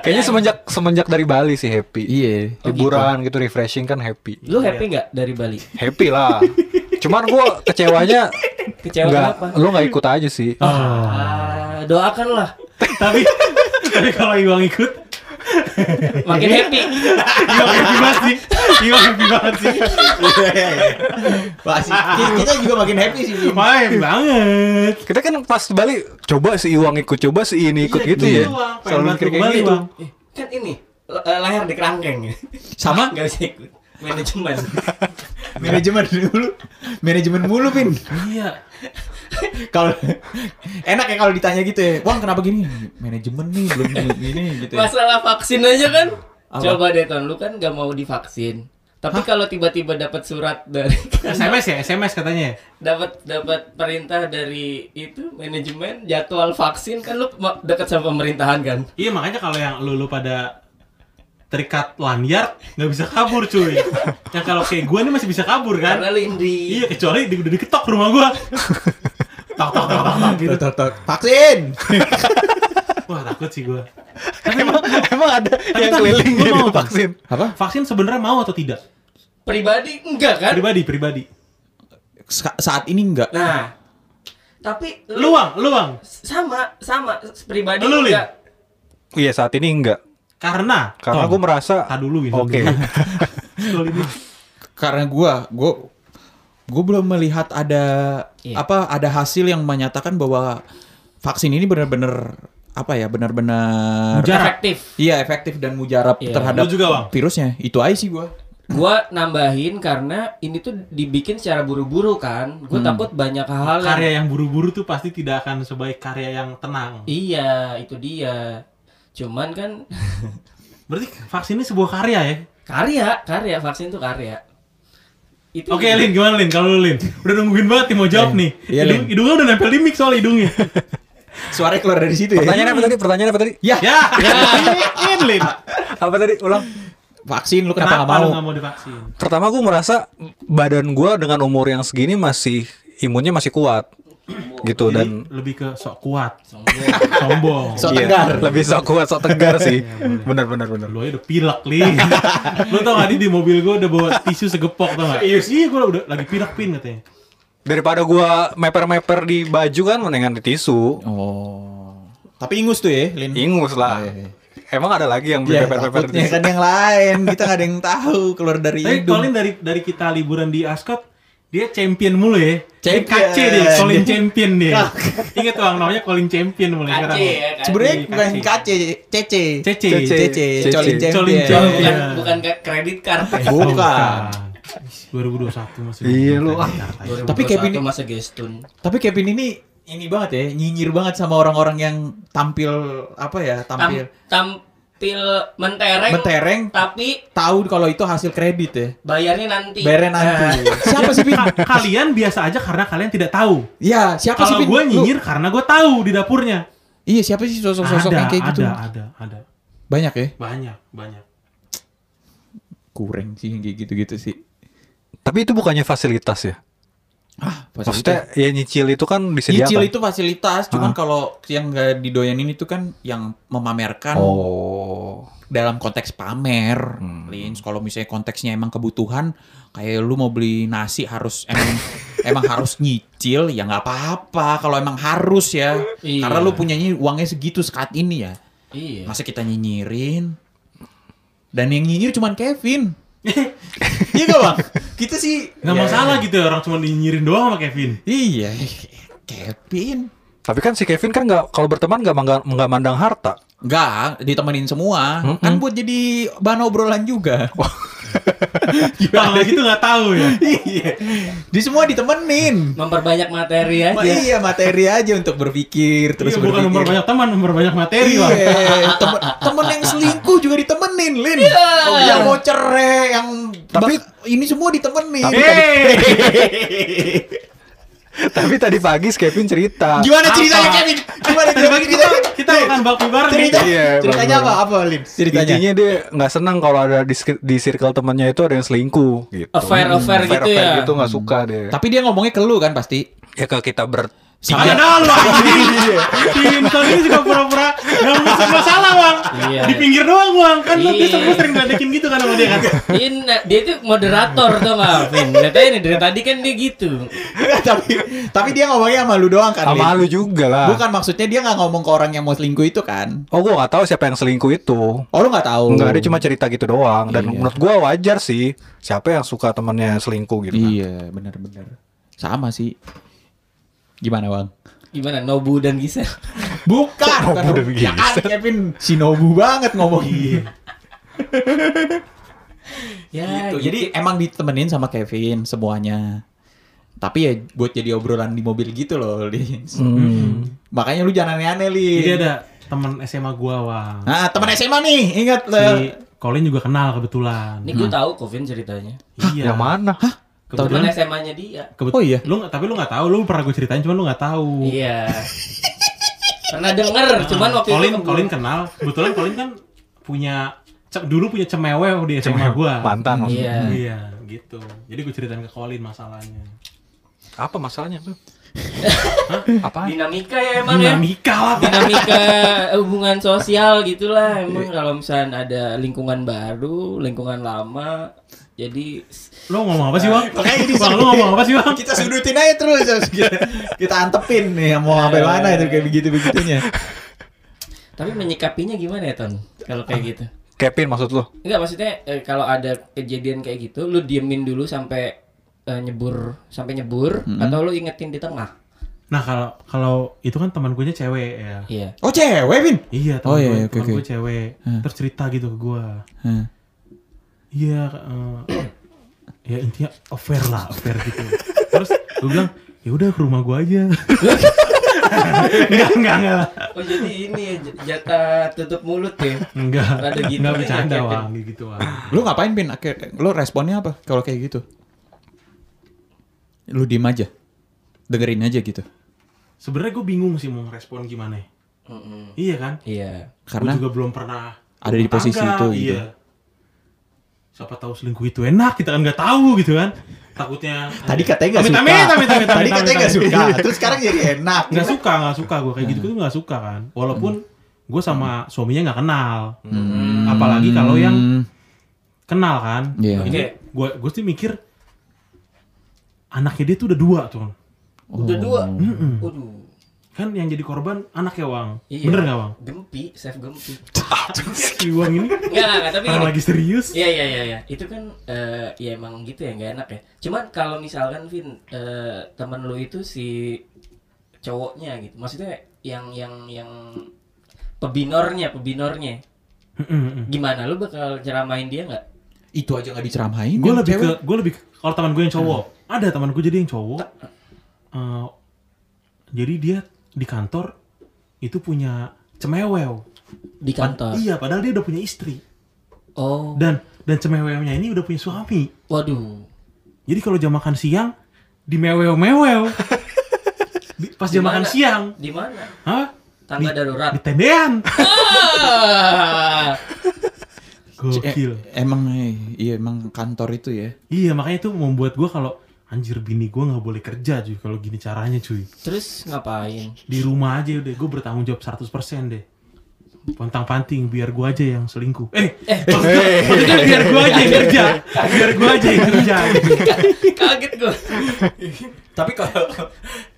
C: Kayaknya semenjak semenjak dari Bali sih happy.
B: Iya.
C: Liburan gitu refreshing kan happy.
A: Lu happy nggak dari Bali?
C: Happy lah. Cuman gua kecewanya
A: Kecewa kenapa?
C: nggak, lu nggak ikut aja sih.
A: Ah, doakanlah
D: tapi tapi kalau Iwang ikut
A: makin happy.
D: Iwang happy banget sih. Iwang happy banget sih.
B: Wah, sih. Kita- Kita juga makin happy sih. Vin.
D: Main banget.
C: Kita kan pas Bali coba si Iwang ikut, coba si ini ikut gitu ya.
D: Iwang, pengen
C: Selalu
D: banget
C: mikir
D: lu
C: kayak
D: kembali,
C: gitu.
D: Bang.
A: Eh, kan ini le- eh, leher di kerangkeng.
B: Sama?
A: nggak bisa ikut. Manajemen.
B: Manajemen dulu. Manajemen mulu, Pin.
D: Iya.
B: Kalau enak ya kalau ditanya gitu ya. Wah, kenapa gini? Manajemen nih belum gini gitu ya.
A: Masalah vaksin aja kan?
B: Apa?
A: Coba deh Ton, lu kan nggak mau divaksin. Tapi kalau tiba-tiba dapat surat dari
D: SMS ya, SMS katanya.
A: dapat dapat perintah dari itu manajemen jadwal vaksin kan lu ma- dekat sama pemerintahan kan?
D: Iya makanya kalau yang lu, lu pada terikat lanyard nggak bisa kabur cuy. yang kalau kayak gue nih masih bisa kabur
A: Karena
D: kan?
A: lu yang di
D: Iya kecuali di, udah diketok rumah gue. tok tok tok tok tok gitu.
B: Tok, tok, tok. Vaksin.
D: Wah takut sih gue.
C: Emang emang ada
D: Tapi
C: yang
D: tadi,
C: keliling
D: lu
C: gitu
D: mau Bang?
C: vaksin.
B: Apa?
D: Vaksin sebenarnya mau atau tidak?
A: pribadi enggak kan?
D: Pribadi pribadi.
B: Sa- saat ini enggak.
A: Nah, tapi lu
D: Luang luang.
A: sama sama pribadi
D: Lu, Lin?
A: enggak.
C: Iya saat ini enggak.
D: Karena
C: Karena
D: Tom,
C: gue merasa
D: Tar dulu, Win.
C: Oke.
D: Lu ini.
B: Karena gua gua gua belum melihat ada
A: Iya.
B: apa ada hasil yang menyatakan bahwa vaksin ini benar-benar apa ya benar-benar
D: Mujarab.
A: Efektif.
B: iya efektif dan mujarab
A: Iya.
B: terhadap
D: Lu juga, Bang?
B: virusnya itu aja sih gua
A: Gua nambahin karena ini tuh dibikin secara buru-buru kan. Gue takut banyak hal yang
D: Hmm. karya yang buru-buru tuh pasti tidak akan sebaik karya yang tenang.
A: Iya, itu dia. Cuman kan
D: Berarti vaksin ini sebuah karya ya?
A: karya, karya vaksin tuh karya. Itu
D: Oke Lin, gimana Lin? Kalau lu Lin, udah nungguin banget nih mau jawab nih.
B: Iya,
D: Hidung,
B: Lin.
D: hidungnya udah nempel di mic soal hidungnya.
B: suaranya keluar dari situ ya
C: Pertanyaan apa tadi? Pertanyaan apa tadi?
B: ya
D: ya, Lin, Lin.
C: Apa tadi? Ulang.
B: vaksin lu kenapa nggak
D: Kenapa, lu
B: mau
D: nggak mau divaksin?
C: Pertama gue merasa badan gua dengan umur yang segini masih imunnya masih kuat gitu
D: Jadi
C: dan
D: lebih ke sok kuat,
A: Sombong.
D: sombong.
B: Sok-
D: Lu
C: Iya,
B: tegar. Iya,
C: lebih sok kuat sok tegar sih bener bener bener
D: Lu aja udah pilek, Lin. lu tau tadi di mobil gua udah bawa tisu segepok tau gak? Iya, gua udah lagi pilek pin katanya.
C: daripada gua meper meper di baju kan mendingan di tisu
B: oh tapi ingus tuh ya Lin
C: ingus
B: Iya,
C: lah
B: iya.
C: emang ada lagi yang
B: Ya,
C: meper meper
B: takutnya
C: di tisu
B: kan yang lain kita nggak ada yang tahu keluar dari
D: Tapi
B: hidung
D: Colin dari dari kita liburan di Ascot, dia champion mulu ya. Dia
B: Champion.
D: KC dia, Colin champion dia. Ingat tuh namanya Colin champion
A: Kace
D: mulai sekarang.
A: ya, kace.
B: sebenarnya
D: Kaci.
B: bukan kace cece
D: Iya, Cece.
B: cece
C: Cece.
B: colin
D: Colin
B: champion
D: champion.
A: bukan,
D: Iya.
A: bukan ke kredit card. ya.
D: Oh,
B: bukan
D: bukan. 2021 masih. gitu.
C: Iya, lu.
B: Tapi Kevin-
A: 2021 masa gestun.
B: Tapi Kevin ini ini banget ya, nyinyir banget sama orang-orang yang tampil apa ya,
A: Tam,
B: tampil
A: tampil mentereng,
B: mentereng,
A: tapi
B: tahu kalau itu hasil kredit ya.
A: bayarnya
D: Iya.
A: nanti.
B: Bayarnya nanti. siapa sih Pin?
D: Ka- kalian biasa aja karena kalian tidak tahu.
B: Ya, siapa sih
D: Kalau
B: Pin?
D: gue
B: Lu-
D: nyinyir karena gue tahu di dapurnya.
B: Iya, siapa sih sosok-sosok
D: ada,
B: yang kayak gitu?
D: ada, ada, ada.
B: Banyak ya?
D: Banyak, banyak.
B: Iya, Kurang sih yang kayak gitu-gitu sih.
C: tapi itu bukannya fasilitas ya
B: Ah,
C: maksudnya ya nyicil itu kan disediakan
B: Nyicil itu fasilitas,
D: Ah.
B: cuman kalau yang nggak didoyanin itu kan yang memamerkan
C: oh Hmm.
B: dalam konteks pamer, Lins. Kalau misalnya konteksnya emang kebutuhan, kayak lu mau beli nasi harus emang emang harus nyicil, ya nggak apa-apa. Kalau emang harus ya,
A: Iya.
B: karena lu punyanya uangnya segitu saat ini ya.
A: Iya.
B: Masa kita nyinyirin? Dan yang nyinyir cuman Kevin. iya gak bang? Kita sih
D: Nggak
B: Ya,
D: masalah gitu ya, orang cuma nyinyirin doang sama Kevin.
B: Iya, Kevin.
C: tapi kan si Kevin kan nggak kalau berteman nggak mangga- nggak mandang harta
B: Enggak, ditemenin semua. Kan buat jadi bahan obrolan juga.
D: Kalau gitu nggak tahu ya.
B: Iya. Di semua ditemenin.
A: Memperbanyak materi aja.
B: Ma- iya materi aja untuk berpikir terus
D: Iya, bukan
B: berpikir.
D: nomor banyak teman, nomor banyak materi lah.
B: Iya, temen, temen yang selingkuh juga ditemenin, Lin. Oh, yang mau cerai, yang
C: Tapi-
B: bak- ini semua ditemenin.
C: Tapi-
B: Eh,
D: Yeay.
C: Tapi tadi pagi si Kevin cerita.
B: Gimana
D: Apa?
B: ceritanya Kevin? Gimana
D: Coba
B: ceritanya
D: kita
B: kita?
D: kita makan bakmi bareng
B: Iya. Cerita,
D: nih.
C: Iya,
B: ceritanya apa?
C: bener-bener.
B: Apa Lim? Ceritanya.
C: Intinya dia nggak senang kalau ada di, sek- di circle temannya itu ada yang selingkuh gitu.
A: Affair- affair gitu
C: affair
A: ya.
C: gitu nggak suka deh.
B: Tapi dia ngomongnya ke lu kan pasti.
C: Ya kalau kita ber
B: Iya.
D: Ada dalam Tim kali ini juga pura-pura Gak mau masalah Wang
A: Iya.
D: Di pinggir doang Wang Kan lu
A: Iya.
D: bisa lu sering ngadekin gitu kan sama dia kan
A: Dia, dia itu moderator tau gak, Vin? Lihat aja nih, dari tadi kan dia gitu.
B: tapi tapi dia ngomongnya sama lu doang kan.
C: sama
B: Lim?
C: lu juga lah.
B: Bukan maksudnya dia nggak ngomong ke orang yang mau selingkuh itu kan.
C: Oh gua nggak tahu siapa yang selingkuh itu.
B: Oh Iya. lu nggak tahu.
C: Enggak, dia cuma cerita gitu doang dan menurut gua wajar sih. Siapa yang suka temannya selingkuh gitu kan.
B: Iya, benar-benar. Sama sih. Gimana, Bang?
A: Gimana, Nobu dan Gisel?
B: Bukan,
C: Nobu
B: bukan
C: dan
B: Ya kan, Kevin Shinobu banget ngomong.
A: Ya,
B: gitu. Jadi emang ditemenin sama Kevin semuanya. Tapi ya buat jadi obrolan di mobil gitu loh, Lins.
C: Hmm.
B: Makanya lu jangan aneh-aneh, Lin.
D: Jadi ada teman SMA gua Wang
B: Nah, teman SMA nih, ingat.
D: Si
B: eh,
D: Colin juga kenal kebetulan
A: Ini gue tahu kok Vin ceritanya.
D: Iya
C: Yang mana?
A: Kebetulan SMA-nya dia.
D: Kebet-
B: Oh, iya.
D: lu, nggak- Tapi lu gak tahu Lu pernah gue ceritain Cuman lu gak tahu
A: Iya. Pernah denger, cuman waktu
D: Colin,
A: itu Iya.
D: Colin kan kenal. Kebetulan Colin kan punya ce- dulu punya cemewe di SMA gua.
C: Mantan.
A: Iya.
C: maksudnya.
D: Iya, gitu. Jadi gue ceritain ke Colin masalahnya.
C: Apa masalahnya tuh? Apa?
A: Dinamika ya emang ya.
D: Dinamika lah.
A: Dinamika hubungan sosial gitulah emang
D: Iya.
A: kalau misalnya ada lingkungan baru, lingkungan lama. Jadi
D: Lu ngomong apa sih, Bang?
B: Makanya ini
D: Bang, lu
B: sih.
D: ngomong apa sih, Bang?
B: kita sudutin aja terus terus kita, kita antepin nih mau sampai mana itu kayak begitu begitunya
A: tapi menyikapinya gimana ya, Ton? Kalau kayak gitu.
C: Kevin maksud lu?
A: Enggak maksudnya eh, kalau ada kejadian kayak gitu lu diemin dulu sampai eh, nyebur sampai nyebur atau lu ingetin di tengah.
D: Nah, kalau kalau itu kan teman gue cewek ya.
A: Iya.
B: oh cewek Vin
D: Iya, teman
B: Oh, iya,
D: gue,
B: iya, oke,
D: teman
B: oke.
D: gue cewek. Terus cerita gitu ke gue.
B: Hah.
D: Iya, eh, ya intinya affair lah, affair gitu. Terus gue bilang, ya udah ke rumah gue aja. enggak, enggak, enggak. lah.
A: Oh jadi ini ya j- jatah tutup mulut ya.
D: Enggak,
A: Rada gitu
D: enggak
A: aja,
D: bercanda,
A: Kevin.
D: Wang, gitu, Wang.
B: lu ngapain Vin akhir lu responnya apa kalau kayak gitu lu diem aja dengerin aja gitu
D: Sebenarnya gue bingung sih mau respon gimana. Iya kan?
A: Iya.
B: Karena?
D: Gua juga belum pernah
B: Ada di
D: rumah
B: posisi itu, gitu.
D: Iya. Siapa tahu selingkuh itu enak, kita kan nggak tahu gitu kan. Takutnya
B: tadi katanya nggak
D: Amit,
B: suka
D: amit, amit, amit,
B: tadi
D: amit,
B: katanya
D: amit,
B: nggak
D: amit.
B: suka terus sekarang jadi enak
D: nggak suka, nggak suka gue
B: Hmm.
D: kayak gitu tuh nggak suka kan. Walaupun gue sama suaminya nggak kenal. Apalagi kalau yang kenal kan.
B: Hmm. Iya.
D: Ini gue gue sih mikir anaknya dia tuh udah dua tuh.
A: Udah dua.
B: Hmm.
D: Mm-mm.
A: Waduh.
D: Kan yang jadi korban anaknya Wang.
A: Iya.
D: Bener nggak Wang?
A: Gempi, chef Gempi.
D: Si Wang ini
A: Enggak, enggak, enggak, tapi
D: orang
A: ini.
D: lagi serius.
A: Iya, iya, iya, iya. Itu kan eh, ya emang gitu ya, nggak enak ya. Cuman kalau misalkan Vin eh, temen lu itu si cowoknya gitu. Maksudnya yang yang yang pebinornya, pebinornya.
D: Mm-mm.
A: Gimana lu bakal ceramain dia nggak?
B: itu aja nggak diceramain
D: gue
B: yang
D: lebih ke
B: cewek. Hmm.
D: gue lebih ke- kalau teman gue yang cowok ada teman gue jadi yang cowok Eh, jadi dia di kantor itu punya cemewew
A: Di kantor.
D: iya padahal dia udah punya istri
A: Oh.
D: dan dan cemewewnya ini udah punya suami
A: Waduh.
D: jadi kalau jam makan siang di mewew mewew pas jam
A: Gimana?
D: makan siang
A: Di mana?
D: hah
A: Tangga
D: Di-
A: darurat.
D: di tendean
B: Eh,
A: Ah!
D: gokil
B: emang eh, iya emang kantor itu ya
D: iya makanya itu membuat gue kalau anjir bini gue nggak boleh kerja cuy kalau gini caranya cuy
A: Terus ngapain?
D: di rumah aja udah gue bertanggung jawab 100% deh pontang panting biar gue aja yang selingkuh eh eh maksudnya biar gue aja yang kerja biar gue aja yang kerja gitu.
A: Kaget gue.
B: tapi kalau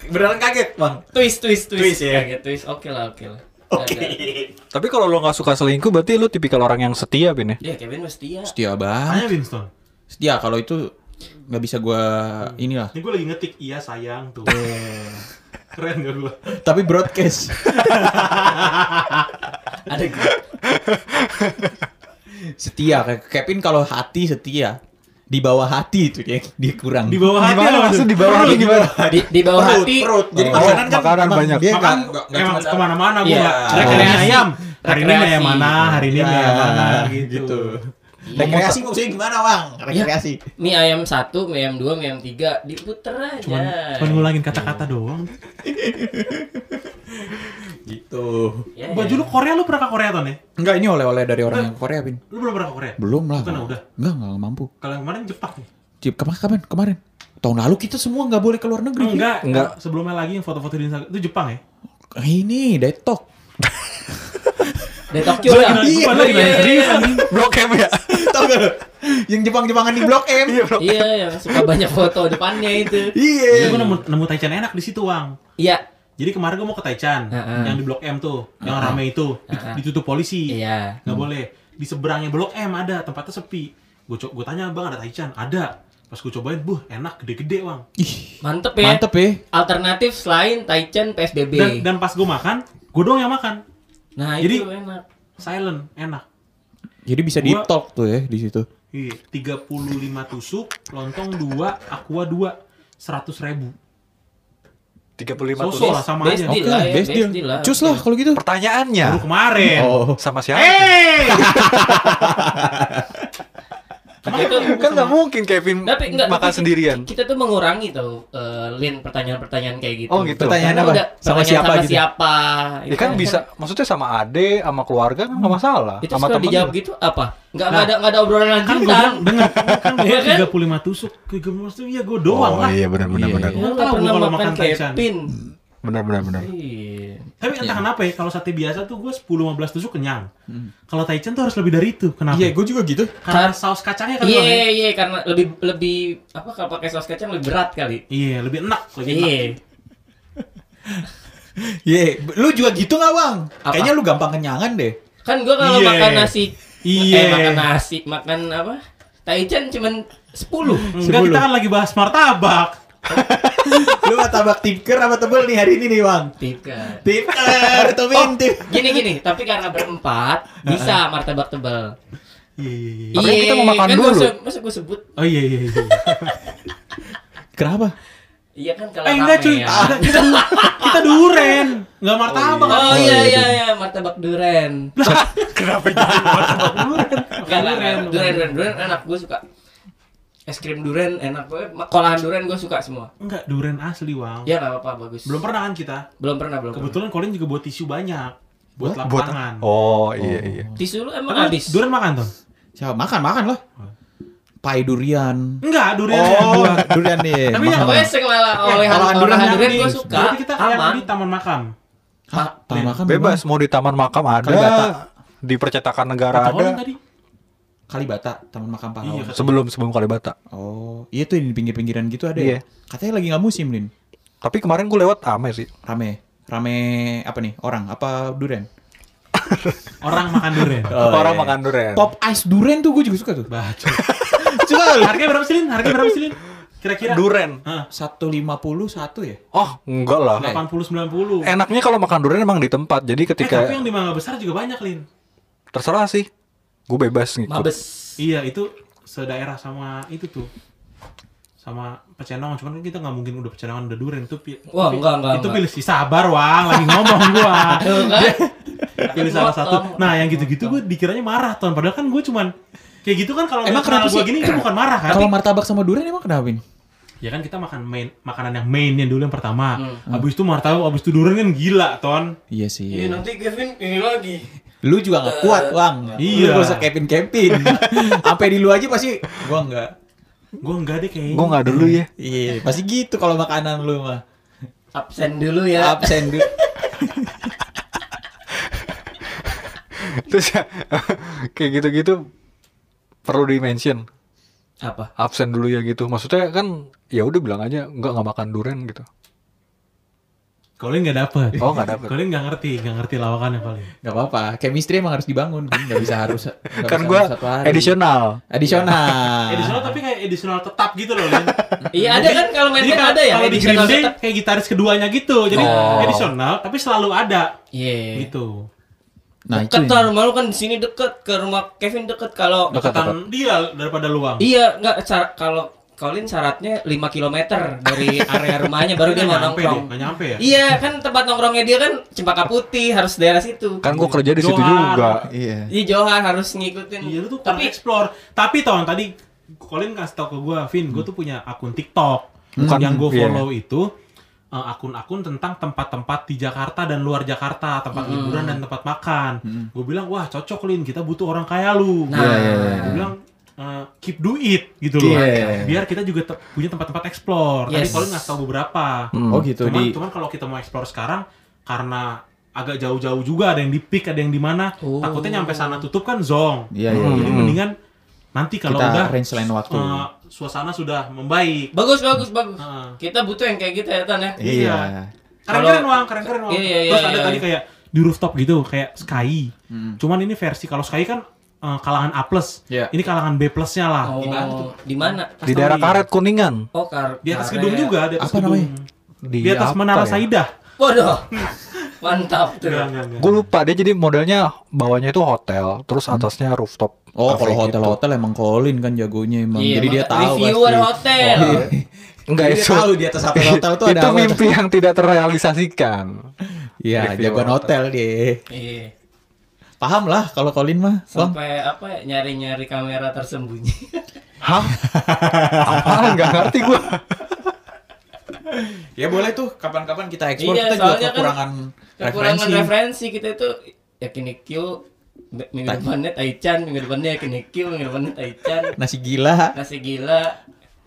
B: beneran kaget bang
A: Twist, twist, twist.
B: Twist, ya?
A: Kaget, twist. Oke lah, oke lah. Ada-
C: Tapi kalau lu nggak suka selingkuh berarti lu tipikal orang yang setia, Bin
A: Ya
C: ya?
A: Kevin mesti ya.
B: setia banget
D: tanya Winston Hmm.
B: setia Ya, kalau itu nggak bisa gua inilah Iya.
D: ini gue lagi ngetik iya sayang tuh keren gak gue
B: tapi broadcast
A: Ada gue.
B: setia Kayak Kevin kalau hati setia di bawah hati itu dia dia kurang
D: di bawah hati
C: Gimana
D: apa
C: maksud
D: tuh?
C: di bawah hati gimana?
A: Di, di bawah
B: Perut,
A: hati.
B: perut. jadi
C: Oh,
B: makanan kan
C: makanan
B: emang
C: banyak.
B: dia nggak-
D: makan
B: nggak- nggak
D: emang
B: cuma-
D: kemana-mana gue
A: Iya.
D: nggak- hari ini
A: Rekreasi.
D: ayam hari ini ayam mana hari ini
B: Ya,
D: ayam mana gitu
B: gitu. Iya. Rekreasi maksudnya gimana, Bang? Rekreasi.
A: mie ayam satu mie ayam dua mie ayam tiga diputer aja
D: Cuman, cuman ngulangin kata-kata doang.
B: Gitu.
A: Ya,
C: Eh.
A: ya.
D: Baju lu Korea lu pernah ke Korea ton ya?
B: Enggak, ini oleh-oleh dari orang yang Korea, Pin.
D: Lu belum pernah ke Korea?
B: Belum lah.
D: Bukan,
B: Bang.
D: udah.
B: Enggak, enggak mampu.
D: Kalau yang kemarin Jepang ya?
B: Cip, kemarin kapan? Kemarin. Tahun lalu kita semua nggak boleh keluar negeri. Pin.
D: Enggak,
C: Enggak. Eh.
D: Sebelumnya lagi yang foto-foto di Instagram itu Jepang ya?
B: Ini detox.
A: dari Tokyo
D: Gua
A: lah
D: lagi-
A: iya
D: gua lagi
A: iya,
D: nanya.
A: iya,
C: Blok M ya.
B: Tahu nggak lu? Yang Jepang-Jepangan di Blok M.
C: Iya, Blok.
A: iya yang suka banyak foto depannya itu
D: Jadi gue
B: Iya.
D: nemu, nemu Taichan enak di situ, Wang.
A: iya
D: Jadi kemarin gue mau ke Taichan,
A: Heeh.
D: yang di Blok M tuh, yang rame itu, di-
A: Heeh.
D: ditutup polisi.
A: iya
D: Nggak boleh. Di seberangnya Blok M ada, tempatnya sepi. Gue co- gua tanya, "Bang, ada Taichan?" Ada. Pas gue cobain, buh, enak, gede-gede, Wang.
B: Ih,
A: mantep ya
B: mantep ya.
A: alternatif selain Taichan PSBB
D: Dan, dan pas gue makan, gue doang yang makan.
A: nah
D: jadi-
A: itu enak
D: Silent, enak.
B: Jadi bisa di
D: Gua-
B: talk tuh ya di situ.
D: Iya, 35 tusuk, lontong 2, aqua 2, 100 ribu.
C: 35
D: Sosok
C: tulis.
D: lah sama
A: Best deal.
D: aja.
B: Oke lah,
A: Iya lah ya,
B: best
A: best
B: deal.
A: deal lah. Iya.
B: Cus lah kalau gitu.
A: Ya.
C: Pertanyaannya
D: Baru kemarin.
B: Oh.
C: sama siapa?
D: Hey!
A: itu
C: Kan nggak mungkin Kevin
A: tapi enggak
C: makan
A: tapi
C: sendirian.
A: kita tuh mengurangi tau eh, lin pertanyaan-pertanyaan kayak gitu
C: Oh, gitu.
A: Karena
B: Pertanyaan apa?
A: udah
B: Sama
A: pertanyaan
B: siapa
A: sama
B: gitu?
A: siapa gitu.
C: Ya kan bisa, maksudnya sama ade, sama keluarga kan nggak masalah.
A: Iya. itu
C: sama
A: kalau
C: temen
A: dijawab
C: juga.
A: gitu apa nggak
D: Nah.
A: ada nggak ada obrolan
D: kan gue
A: lanjutan
D: bilang dengar kan gue
A: Iya kan?
D: 35 tusuk gue maksudnya iya gue
A: Oh,
D: doang lah
C: benar benar
B: Iya,
C: benar.
A: Lu
D: Tahu
A: nggak pernah
D: kalau
A: makan
D: makan Taichan.
A: Kevin
C: Benar benar benar.
A: Iya. Hmm.
D: tapi entah kenapa ya kalau sate biasa tuh gue 10 15 tusuk kenyang kalau taichan tuh harus lebih dari itu kenapa ya?
B: Iya, gue juga gitu.
D: karena saus kacangnya kan
A: Iya,
D: Bang, ya?
A: iya, iya, karena lebih lebih apa kalau pakai saus kacang lebih berat kali.
D: iya lebih enak lebih enak
A: Iya.
B: Iya, lu juga gitu nggak bang?
A: Apa?
B: Kayaknya lu gampang kenyangan deh.
A: Kan gua kalau
D: Iya.
A: makan nasi
D: Iya.
A: eh, makan nasi, makan apa? Taichan cuman 10.
D: enggak kita
B: Sebelum.
D: kan lagi bahas martabak
B: lu martabak tipker apa tebel nih hari ini nih bang?
A: Tiga.
B: Tipker, tuh tip.
A: Gini gini, tapi karena berempat bisa martabak tebal.
D: iya iya iya
C: Makanya kita mau makan
A: kan gua
C: dulu.
A: se- masa gua sebut?
D: oh iya iya iya
B: Kenapa?
A: Iya kan kalau
D: eh enggak
A: rame
D: cuy
A: ya.
D: kita, kita, kita duren enggak martabak
A: Oh
D: kan?
A: iya iya iya martabak duren.
C: Kenapa jadi
A: Enggak, enggak, enggak. Duren, duren, duren enak gue suka. Es krim duren enak gue, kolahan duren gue suka semua.
D: enggak duren asli wang
A: Ya enggak apa-apa bagus.
D: belum pernah kan kita
A: belum pernah, belum. pernah.
D: kebetulan Colin juga buat tisu banyak buat
C: buat?
D: lapangan
C: Oh iya iya.
A: Tisu lu emang
D: Emang
A: habis.
D: Durian makan tuh?
B: Siapa makan makan lah. Pai durian.
D: Enggak,
B: Oh,
D: durian yang dua.
B: durian nih.
D: Tapi
B: makan.
D: yang
A: Pokoknya segala
D: Eh,
A: oleh
B: olahan
A: olahan
B: duren
A: duren,
D: yang
A: duren
D: di-
A: gue suka.
D: Berarti kita kayak
A: aman.
D: di taman makam.
B: Hah, pai
D: Lin.
B: makan
C: Bebas mau di taman makam
B: Kalibata.
C: ada, di percetakan negara
D: Kata orang
C: ada.
D: tadi.
B: Kalibata, Taman Makam Pahlawan.
D: Iya, kata-
C: Sebelum sebelum Kalibata.
B: Oh, iya tuh yang di pinggir-pinggiran gitu ada
C: Iya.
B: ya. Katanya lagi nggak musim, Lin.
C: Tapi kemarin gue lewat rame sih.
B: Rame. Rame apa nih? Orang apa durian?
D: orang makan durian.
C: Orang
B: iya.
C: makan durian.
B: Pop ice durian tuh gue juga suka tuh.
D: Baca.
B: Coba lu.
D: Harganya berapa sih, Lin? Harganya berapa sih, Lin? Kira-kira.
C: Duren.
D: Hah,
B: 150 satu ya?
C: Oh, enggak lah.
B: Nah,
D: 80 90. Eh,
C: Enaknya kalau makan durian emang di tempat. Jadi
D: tapi
C: ketika
D: yang di Mangga Besar juga banyak, Lin.
C: terserah sih. Gue bebas ngikut.
A: Mabes.
D: Iya, itu sedaerah sama itu tuh. Sama pecenongan, cuman kan kita nggak mungkin udah pecenongan udah durian itu. pi-
A: Wah,
D: pi-
A: enggak, enggak,
D: Itu
A: enggak.
D: pilih sih sabar, Wang, lagi ngomong gua.
A: Tuh kan?
D: pilih salah satu. Nah, yang gitu-gitu gue dikiranya marah, Ton. Padahal kan gue cuman kayak gitu kan kalau
B: Emang
D: nggak kenal
B: kenapa
D: gua
B: sih?
D: gini itu bukan marah kan?
B: Kalau martabak sama durian emang kenapa, Win?
D: Ya kan kita makan main makanan yang mainnya dulu yang pertama.
A: Hmm.
D: Habis itu martabak, habis itu durian kan gila, Ton.
B: Iya sih.
A: Iya, nanti Kevin ini lagi.
B: Lu juga gak kuat, Wang.
D: Iya.
B: Lu gak usah kepin-kepin. Sampai di lu aja pasti gua enggak.
D: Gue enggak deh kayaknya.
C: Gue nggak dulu ya.
B: Iya, pasti gitu kalau makanan lu mah.
A: Absen dulu ya.
B: Absen du-
C: Terus ya, kayak gitu-gitu perlu di mention
A: Apa?
C: absen dulu ya gitu. Maksudnya kan ya udah bilang aja enggak nggak makan durian gitu.
D: Colin enggak dapet.
C: Oh, nggak dapet.
D: Colin enggak ngerti, enggak ngerti lawakannya Colin.
B: Gak apa-apa. Chemistry emang harus dibangun. Kan? Gak bisa harus. nggak
C: kan
B: bisa
C: gue
B: harus satu hari.
C: edisional.
B: Additional.
D: Edisional tapi kayak edisional tetap gitu loh, Lin.
A: Nah. Iya, ada kan kalau main
D: Jadi
A: band
D: kalau-
A: ada ya.
D: Kalau di Green
A: edisional
D: Day
A: tetap.
D: kayak gitaris keduanya gitu. Jadi
C: Oh.
D: edisional tapi selalu ada
A: Iya.
D: gitu.
B: Nah, itu.
A: Deket lah, rumah lu kan di sini deket ke rumah Kevin deket kalau
C: Dekat,
D: Deketan dia daripada luang.
A: Iya, enggak cara- kalau Colin syaratnya 5 km dari area rumahnya baru dia
D: Nggak
A: mau
D: nyampe deh,
A: nongkrong.
D: nggak nyampe ya?
A: Iya, kan tempat nongkrongnya dia kan Cempaka Putih, harus daerah situ.
C: Kan gua kerja di situ
D: Johar.
C: juga. Iya.
A: Iya, Johan harus ngikutin.
D: Iya lu tuh kurang
A: tapi
D: explore. Tapi tahun tadi Colin kasih tau ke gue, Vin, gue tuh punya akun TikTok.
C: Bukan,
D: yang gue
C: iya.
D: follow itu eh, akun-akun tentang tempat-tempat di Jakarta dan luar Jakarta,
A: Hmm.
D: tempat hiburan dan tempat makan. Gue bilang, wah cocok Lin, kita butuh orang kaya lu.
A: Nah. Iya, iya, iya.
D: gue bilang eh, keep do it gitu loh.
B: Iya.
D: Biar kita juga te- punya tempat-tempat explore. Tadi
A: Yes.
D: Colin ngasih tau beberapa.
B: Oh gitu
D: cuman,
B: di
D: cuman kalau kita mau explore sekarang karena agak jauh-jauh juga ada yang di peak ada yang di mana
A: Oh.
D: takutnya nyampe sana tutup kan zong
B: Iya, iya,
D: jadi
C: iya.
D: mendingan nanti kalau
B: Kita
D: udah
B: range lain waktu.
D: eh, suasana sudah membaik
A: bagus bagus bagus.
D: Heeh.
A: Kita butuh yang kayak gitu ya Tan ya.
D: Iya.
B: Iya.
D: keren-keren
A: Kalau-
D: wang keren-keren wang
A: Iya, iya, iya,
D: terus ada
A: iya,
D: tadi
A: iya.
D: kayak di rooftop gitu kayak sky
B: Hmm.
D: cuman ini versi kalau sky kan eh, kalangan A plus
B: Iya.
D: ini kalangan B plusnya lah Gimana tuh?
A: Oh, di mana?
C: Di daerah karet kuningan.
A: Oh, kar
D: di atas
A: karet.
D: gedung juga di atas
B: Apa
D: gedung
B: namanya?
C: Di,
D: di atas
C: apa ya?
D: menara
A: Iya.
D: Saidah
A: Waduh. Mantap tuh.
D: Enggak, enggak, enggak.
C: Gue lupa dia jadi modelnya bawahnya itu hotel, terus atasnya rooftop.
B: Oh,
C: cafe
B: kalau
C: gitu.
B: hotel-hotel emang Colin kan jagonya emang.
A: Iya,
B: Jadi dia
A: maka-
B: tahu
A: reviewer
B: pasti.
A: hotel.
B: Oh, iya.
C: Enggak
B: Jadi dia
C: itu.
B: tahu di atas apa hotel tuh ada
C: itu
B: apa.
C: mimpi yang tidak terrealisasikan.
B: Iya,
C: Reviewer
B: jagoan hotel dia.
A: Iya.
B: Paham lah kalau Colin mah. Bang.
A: Sampai apa ya, nyari-nyari kamera tersembunyi.
C: Hah? Apaan? Enggak ngerti gue.
B: Ya boleh tuh kapan-kapan kita ekspor
A: Iya,
B: kita juga
A: soalnya kan
B: kekurangan
A: kekurangan
B: referensi.
A: referensi kita itu ya yakin IQ be- minggu
B: Tai.
A: depannya Taichan minggu depannya yakin IQ minggu depannya Taichan
B: Nasi gila.
A: nasi gila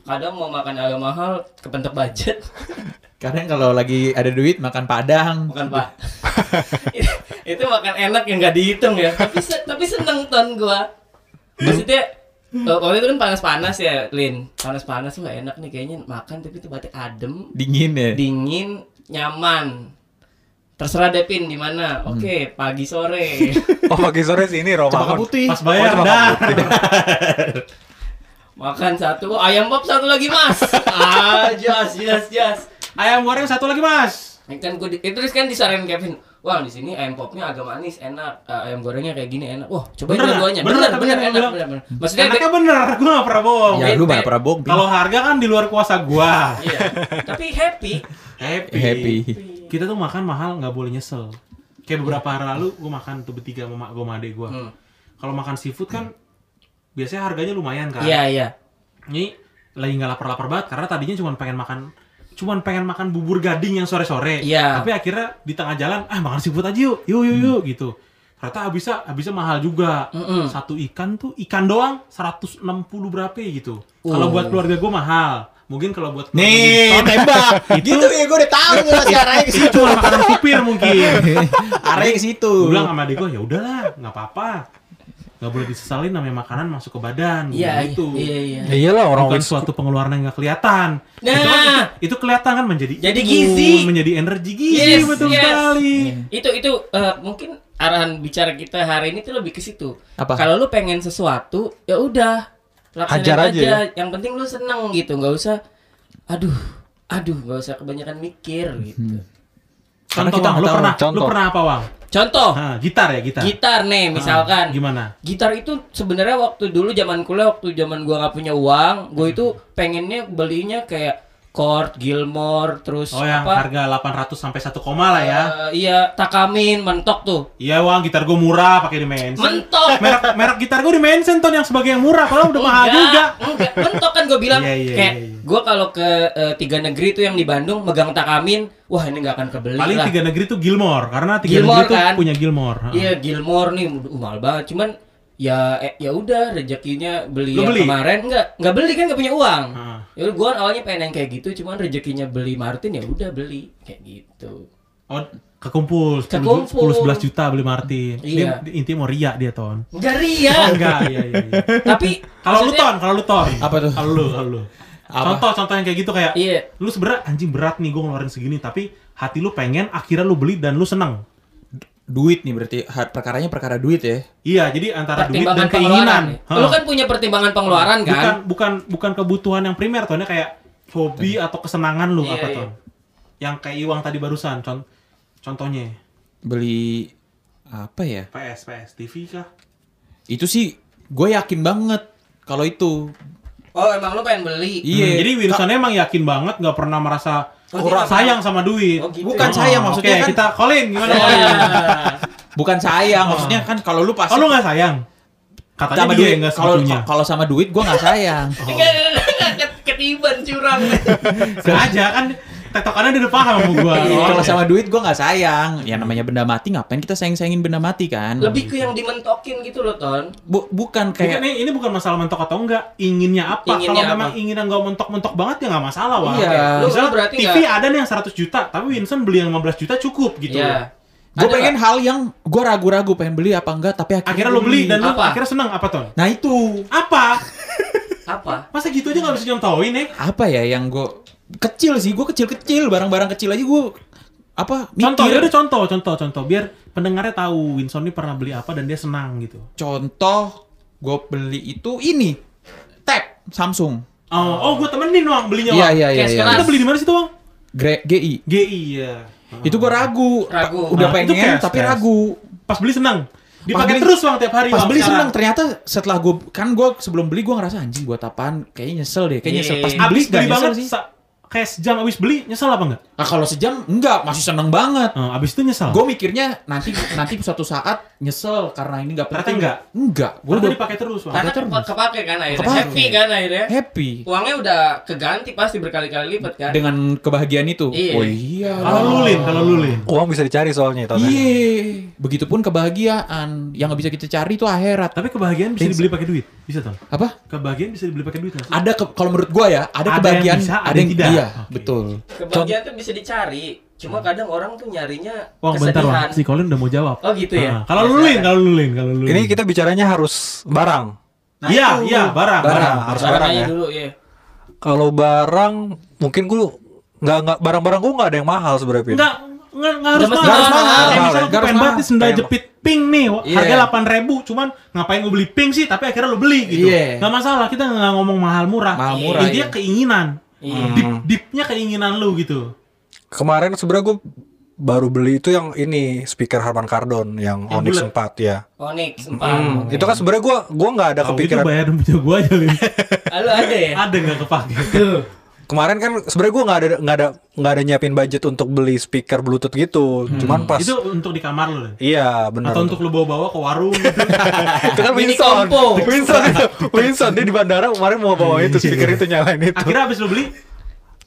A: kadang mau makan agak mahal kepentok budget
B: Kadang kalau lagi ada duit makan padang.
A: bukan pak Itu- itu makan enak yang nggak dihitung ya tapi se- tapi seneng ton gua maksudnya eh, waktu itu kan panas-panas ya Lin panas-panas wah enak nih kayaknya makan tapi tempatnya adem
B: Dingin ya.
A: dingin nyaman terserah Depin di mana oke pagi sore
C: Oh pagi sore sini
B: Cempaka
C: Romangun.
B: putih. Ya,
D: pas bayar
C: Oh, cuma
D: dah
A: Makan satu, oh, ayam pop satu lagi mas. ah, jas, jas, jas.
D: ayam goreng satu lagi mas
A: Ini Kan gue, itu terus kan disarankan Kevin. Wah di sini ayam popnya agak manis, enak. Eh, ayam gorengnya kayak gini enak. Wah coba
D: Bener,
A: dua-duanya.
D: bener,
A: Bener, bener,
D: tapi
A: bener,
D: dia
A: enak,
D: bilang-
A: bener, bener. Maksudnya
D: enaknya bener gue gak pernah bohong
B: Ya lu
A: Bete.
B: mana pernah bohong. Pin.
D: Eh, kalau harga kan di luar kuasa gua
A: dia- iya. tapi happy.
D: happy.
B: happy.
D: kita tuh makan mahal nggak boleh nyesel kayak beberapa hari lalu gue makan tuh bertiga sama mak gue sama adek gue
A: Hmm.
D: kalau makan seafood kan biasanya harganya lumayan kan
A: Iya iya.
D: ini lagi nggak lapar-lapar banget karena tadinya cuma pengen makan cuman pengen makan bubur gading yang sore-sore
A: Iya. Hmm.
D: tapi akhirnya di tengah jalan ah makan seafood aja yuk yuk yuk yuk gitu ternyata habisnya habisnya mahal juga
A: Mm-mm.
D: satu ikan tuh ikan doang 160 berapa ya gitu kalau
A: Uh.
D: buat keluarga gue mahal mungkin kalau buat keluarga
B: Nih,
D: Winston,
B: tembak. gitu ya gue udah tahu nih pasti arahnya ke
D: itu
B: situ.
D: cuma makanan supir mungkin
B: arahnya ke situ.
D: gue bilang sama adik gue ya udahlah nggak apa-apa nggak boleh disesalin namanya makanan masuk ke badan
A: Iya
D: Gua bilang
A: itu.
D: gitu
A: Iya iya.
C: Ya iyalah orang
D: bukan
C: wis-
D: suatu pengeluaran yang nggak kelihatan
A: Nah.
D: itu, kan- itu- itu kelihatan kan menjadi
A: Jadi
D: imun,
A: gizi.
D: menjadi energi gizi
A: Yes,
D: Iya, betul
A: yes.
D: sekali
A: Iya,
B: Iya.
A: Itu itu eh, mungkin arahan bicara kita hari ini tuh lebih ke situ.
B: Apa?
A: Kalau lu pengen sesuatu, ya udah laksanain
C: Hajar aja ya.
A: Yang penting lu seneng gitu, nggak usah. Aduh, aduh, nggak usah kebanyakan mikir
D: Hmm.
A: gitu.
B: Karena
D: contoh
B: kita
D: Wang,
B: nggak
D: lu
B: tahu.
D: pernah
C: Contoh.
D: lu pernah apa wang
A: Contoh,
D: Hah, gitar ya gitar
A: Oh. gitar kan. nih misalkan.
D: Ah, gimana
A: Gitar itu sebenarnya waktu dulu zaman kuliah waktu zaman gua nggak punya uang,
D: Hmm.
A: gua itu pengennya belinya kayak Chord, Gilmore, terus
D: oh yang
A: apa?
D: harga 800 sampai 1 koma lah ya
A: eh, iya, Takamin, mentok tuh.
D: Iya wang gitar gue murah pakai dimension
A: Mentok.
D: merek merek gitar gue dimension ton yang sebagai yang murah kalau udah mahal
A: Enggak,
D: juga
A: Enggak, mentok kan gue bilang
D: Iya, iya,
A: kayak
D: iya, iya.
A: gue kalau ke eh, tiga negeri itu yang di Bandung megang takamin, wah ini nggak akan kebeli
D: paling
A: lah.
D: tiga negeri tuh Gilmore karena tiga
A: Gilmore,
D: negeri tuh
A: kan?
D: punya Gilmore Ha.
A: Iya Gilmore nih uh, mahal banget, cuman ya eh, ya udah rezekinya beli,
D: Lu
A: yang
D: beli?
A: kemarin nggak nggak beli kan nggak punya uang.
D: Ah.
A: Ya gue awalnya pengen yang kayak gitu, cuman rezekinya beli Martin ya udah beli kayak gitu.
D: Oh, kekumpul 10,
A: Kekumpul.
D: 10 11 juta beli Martin.
A: Iya.
D: Dia, dia intinya mau ria dia, Ton.
A: Enggak ria,
D: Oh, enggak, iya iya iya.
A: tapi
D: Kalau lu
A: maksudnya-
D: Ton, kalau lu Ton.
B: Apa tuh?
D: Kalau lu, kalau lu.
B: Apa?
D: Contoh contoh yang kayak gitu kayak
A: Iya.
D: lu sebenernya anjing berat nih gue ngeluarin segini tapi hati lu pengen akhirnya lu beli dan lu seneng.
B: Duit nih berarti har- perkaranya perkara duit ya.
D: Iya, jadi antara duit
A: pertimbangan
D: dan
A: pengeluaran.
D: keinginan.
A: ya.
D: Ha.
A: Lu kan punya pertimbangan pengeluaran kan?
D: bukan bukan bukan kebutuhan yang primer Ton, Ini kayak hobi atau kesenangan lu
A: Iya,
D: apa
A: iya.
D: Ton? Yang kayak Iwang tadi barusan, con- contohnya
B: Beli apa ya?
D: PS PS TV kah?
B: Itu sih gue yakin banget kalau itu
A: Oh, emang lu pengen beli?
B: Iya.
D: Hmm, Jadi Wilson emang yakin banget nggak pernah merasa
A: Oh, dia
D: kurang
A: nggak
D: sayang sama duit.
A: Oh, gitu.
B: Bukan
D: Oh,
B: sayang,
D: oke,
B: maksudnya kan-
D: kita Colin gimana?
A: Iya.
D: Colin?
B: Bukan sayang, maksudnya kan kalau lu pas
D: Oh, Ah. lu nggak sayang? Katanya
B: sama
D: dia
B: duit,
D: yang nggak
B: kalau
D: sebetulnya.
B: kalau sama duit gua nggak sayang.
A: Enggak, enggak, enggak, enggak, ket- ketiban curang.
D: Sengaja kan tektokannya dia udah paham sama gua.
B: Iya,
D: Oh,
B: kalau
D: iya.
B: sama duit gua nggak sayang. Ya namanya benda mati ngapain kita sayang-sayangin benda mati kan?
A: Lebih ke yang dimentokin gitu loh, Ton.
B: Bu- bukan
D: Bukan,
B: kayak
D: ini, ini bukan masalah mentok atau enggak, inginnya apa?
A: Inginnya
D: kalau
A: apa?
D: memang inginnya nggak mentok-mentok banget ya nggak masalah, Wah.
B: Iya.
A: Oke, Lu, lu
D: Misalnya
A: berarti
D: TV
A: enggak?
D: ada nih yang 100 juta, tapi Winston beli yang 15 juta cukup gitu.
A: Iya.
B: gue
A: Ada
B: pengen hal yang gue ragu-ragu pengen beli apa enggak tapi akhirnya,
D: Akhirnya lo beli dan lo
A: Apa?
D: akhirnya seneng apa ton?
B: nah itu
D: Apa?
A: Apa?
D: Masa gitu aja nggak bisa nyontoin ya?
B: apa ya yang gue kecil sih gue kecil-kecil barang-barang kecil aja gue apa
D: Contoh, ya
B: mikir
D: udah contoh, contoh, contoh. Biar pendengarnya tahu Winston ini pernah beli apa dan dia senang gitu.
B: contoh gue beli itu ini tab Samsung
D: Oh, oh gue temenin Wang belinya
B: iya
D: Wang.
B: iya iya
A: Cash
B: iya.
A: keras.
D: Kita beli di mana sih tuh Wang?
B: Gre- GI
D: GI
B: iya.
D: ya.
B: itu gue ragu
A: Ragu.
B: udah
D: Nah, itu
B: pengen
D: cash,
B: tapi
D: cash.
B: ragu
D: Pas beli senang.
B: Pas
D: Dipakai
B: beli-
D: terus Wang tiap hari.
B: pas
D: Wang,
B: beli senang
D: sekarang.
B: ternyata setelah gue kan gue sebelum beli gue ngerasa anjing buat apaan kayaknya nyesel deh kayaknya nyesel pas
A: Iya.
B: beli
D: Abis
B: gak
D: beli
B: nyesel
D: banget,
B: sih
D: sa- kayak sejam abis beli, nyesel apa enggak?
B: nah, kalau sejam enggak masih seneng banget
D: Eh, abis itu nyesel.
B: Gue mikirnya nanti nanti suatu saat nyesel karena ini nggak penting.
D: Ternyata
B: Enggak. Gue
D: Gue
B: udah
D: dipakai terus Wang.
A: Karena
B: Ada terus.
A: kepa- kepake kan akhirnya.
B: Kepake.
A: Happy kan akhirnya.
B: happy
A: Uangnya udah keganti pasti berkali-kali lipat kan.
B: dengan kebahagiaan itu.
A: Iya.
B: Oh iya.
D: Kalau lulin, kalau lulin.
C: Uang bisa dicari soalnya tahun ini.
B: Iya. Begitupun kebahagiaan yang nggak bisa kita cari itu akhirat.
D: Tapi kebahagiaan bisa
B: Prince.
D: dibeli pakai duit. Bisa tuh.
B: Apa?
D: Kebahagiaan bisa dibeli pakai duit. nggak sih?
B: Ada ke- kalau menurut gue ya ada,
D: Ada yang
B: kebahagiaan
D: bisa, ada yang tidak.
B: Iya,
D: Oke.
B: betul.
A: Kebahagiaan tuh bisa dicari. Cuma kadang orang tuh nyarinya
D: Wang bentar
A: kesedihan.
D: Wang, si Colin udah mau jawab.
A: Oh, gitu ya?
D: Ah, Kalau
B: Iya,
A: Ya,
D: lulin,
A: silakan.
D: kalau lulin, kalau lulin.
C: Ini kita bicaranya harus barang.
D: Iya, iya, barang, barang.
C: Barang, harus barang
A: Caranya
C: ya.
A: dulu ya.
C: Kalau barang mungkin gua nggak nggak barang-barang gua nggak ada yang mahal sebenarnya. Pin.
D: Enggak Nggak, nggak harus
A: Nggak
D: mahal.
A: mesti
D: Nggak harus
A: mahal.
D: mahal. Kayak
C: Mahal,
D: misalnya gue
B: nggak
D: pengen
B: harus
D: banget nih sendal
B: mahal.
D: jepit pink nih, wah,
B: Iya.
D: harga 8 ribu, cuman ngapain gue beli pink sih, tapi akhirnya lo beli gitu.
B: Iya.
D: Nggak masalah, kita nggak ngomong mahal murah.
B: Mahal
D: Iya.
B: murah,
D: Intinya
B: iya.
D: keinginan.
A: Iya.
D: Deep, deepnya keinginan lu gitu.
C: Kemarin sebenarnya gua baru beli itu yang ini speaker Harman Kardon yang,
D: Yang
C: Onyx
D: bulat.
C: 4 ya.
A: Onyx
C: Hmm,
A: empat.
C: Itu kan sebenarnya gua gua nggak ada
D: Kalau itu
C: kepikiran.
D: bayar gitu, punya gue aja, Lin.
A: Ah, lu ada ya?
D: Ada nggak kepake?
C: Kemarin kan sebenarnya gua nggak ada nggak ada nggak ada nyiapin budget untuk beli speaker Bluetooth gitu. Cuman pas
D: Hmm. Itu untuk di kamar lu, Lin.
C: Iya benar.
D: Atau untuk lu bawa-bawa ke warung gitu.
C: itu kan
A: Mini
C: Winston.
A: kompo.
C: Winston, Winston dia di bandara kemarin mau bawa itu speaker itu nyalain itu.
D: Iya. Akhirnya abis lu beli,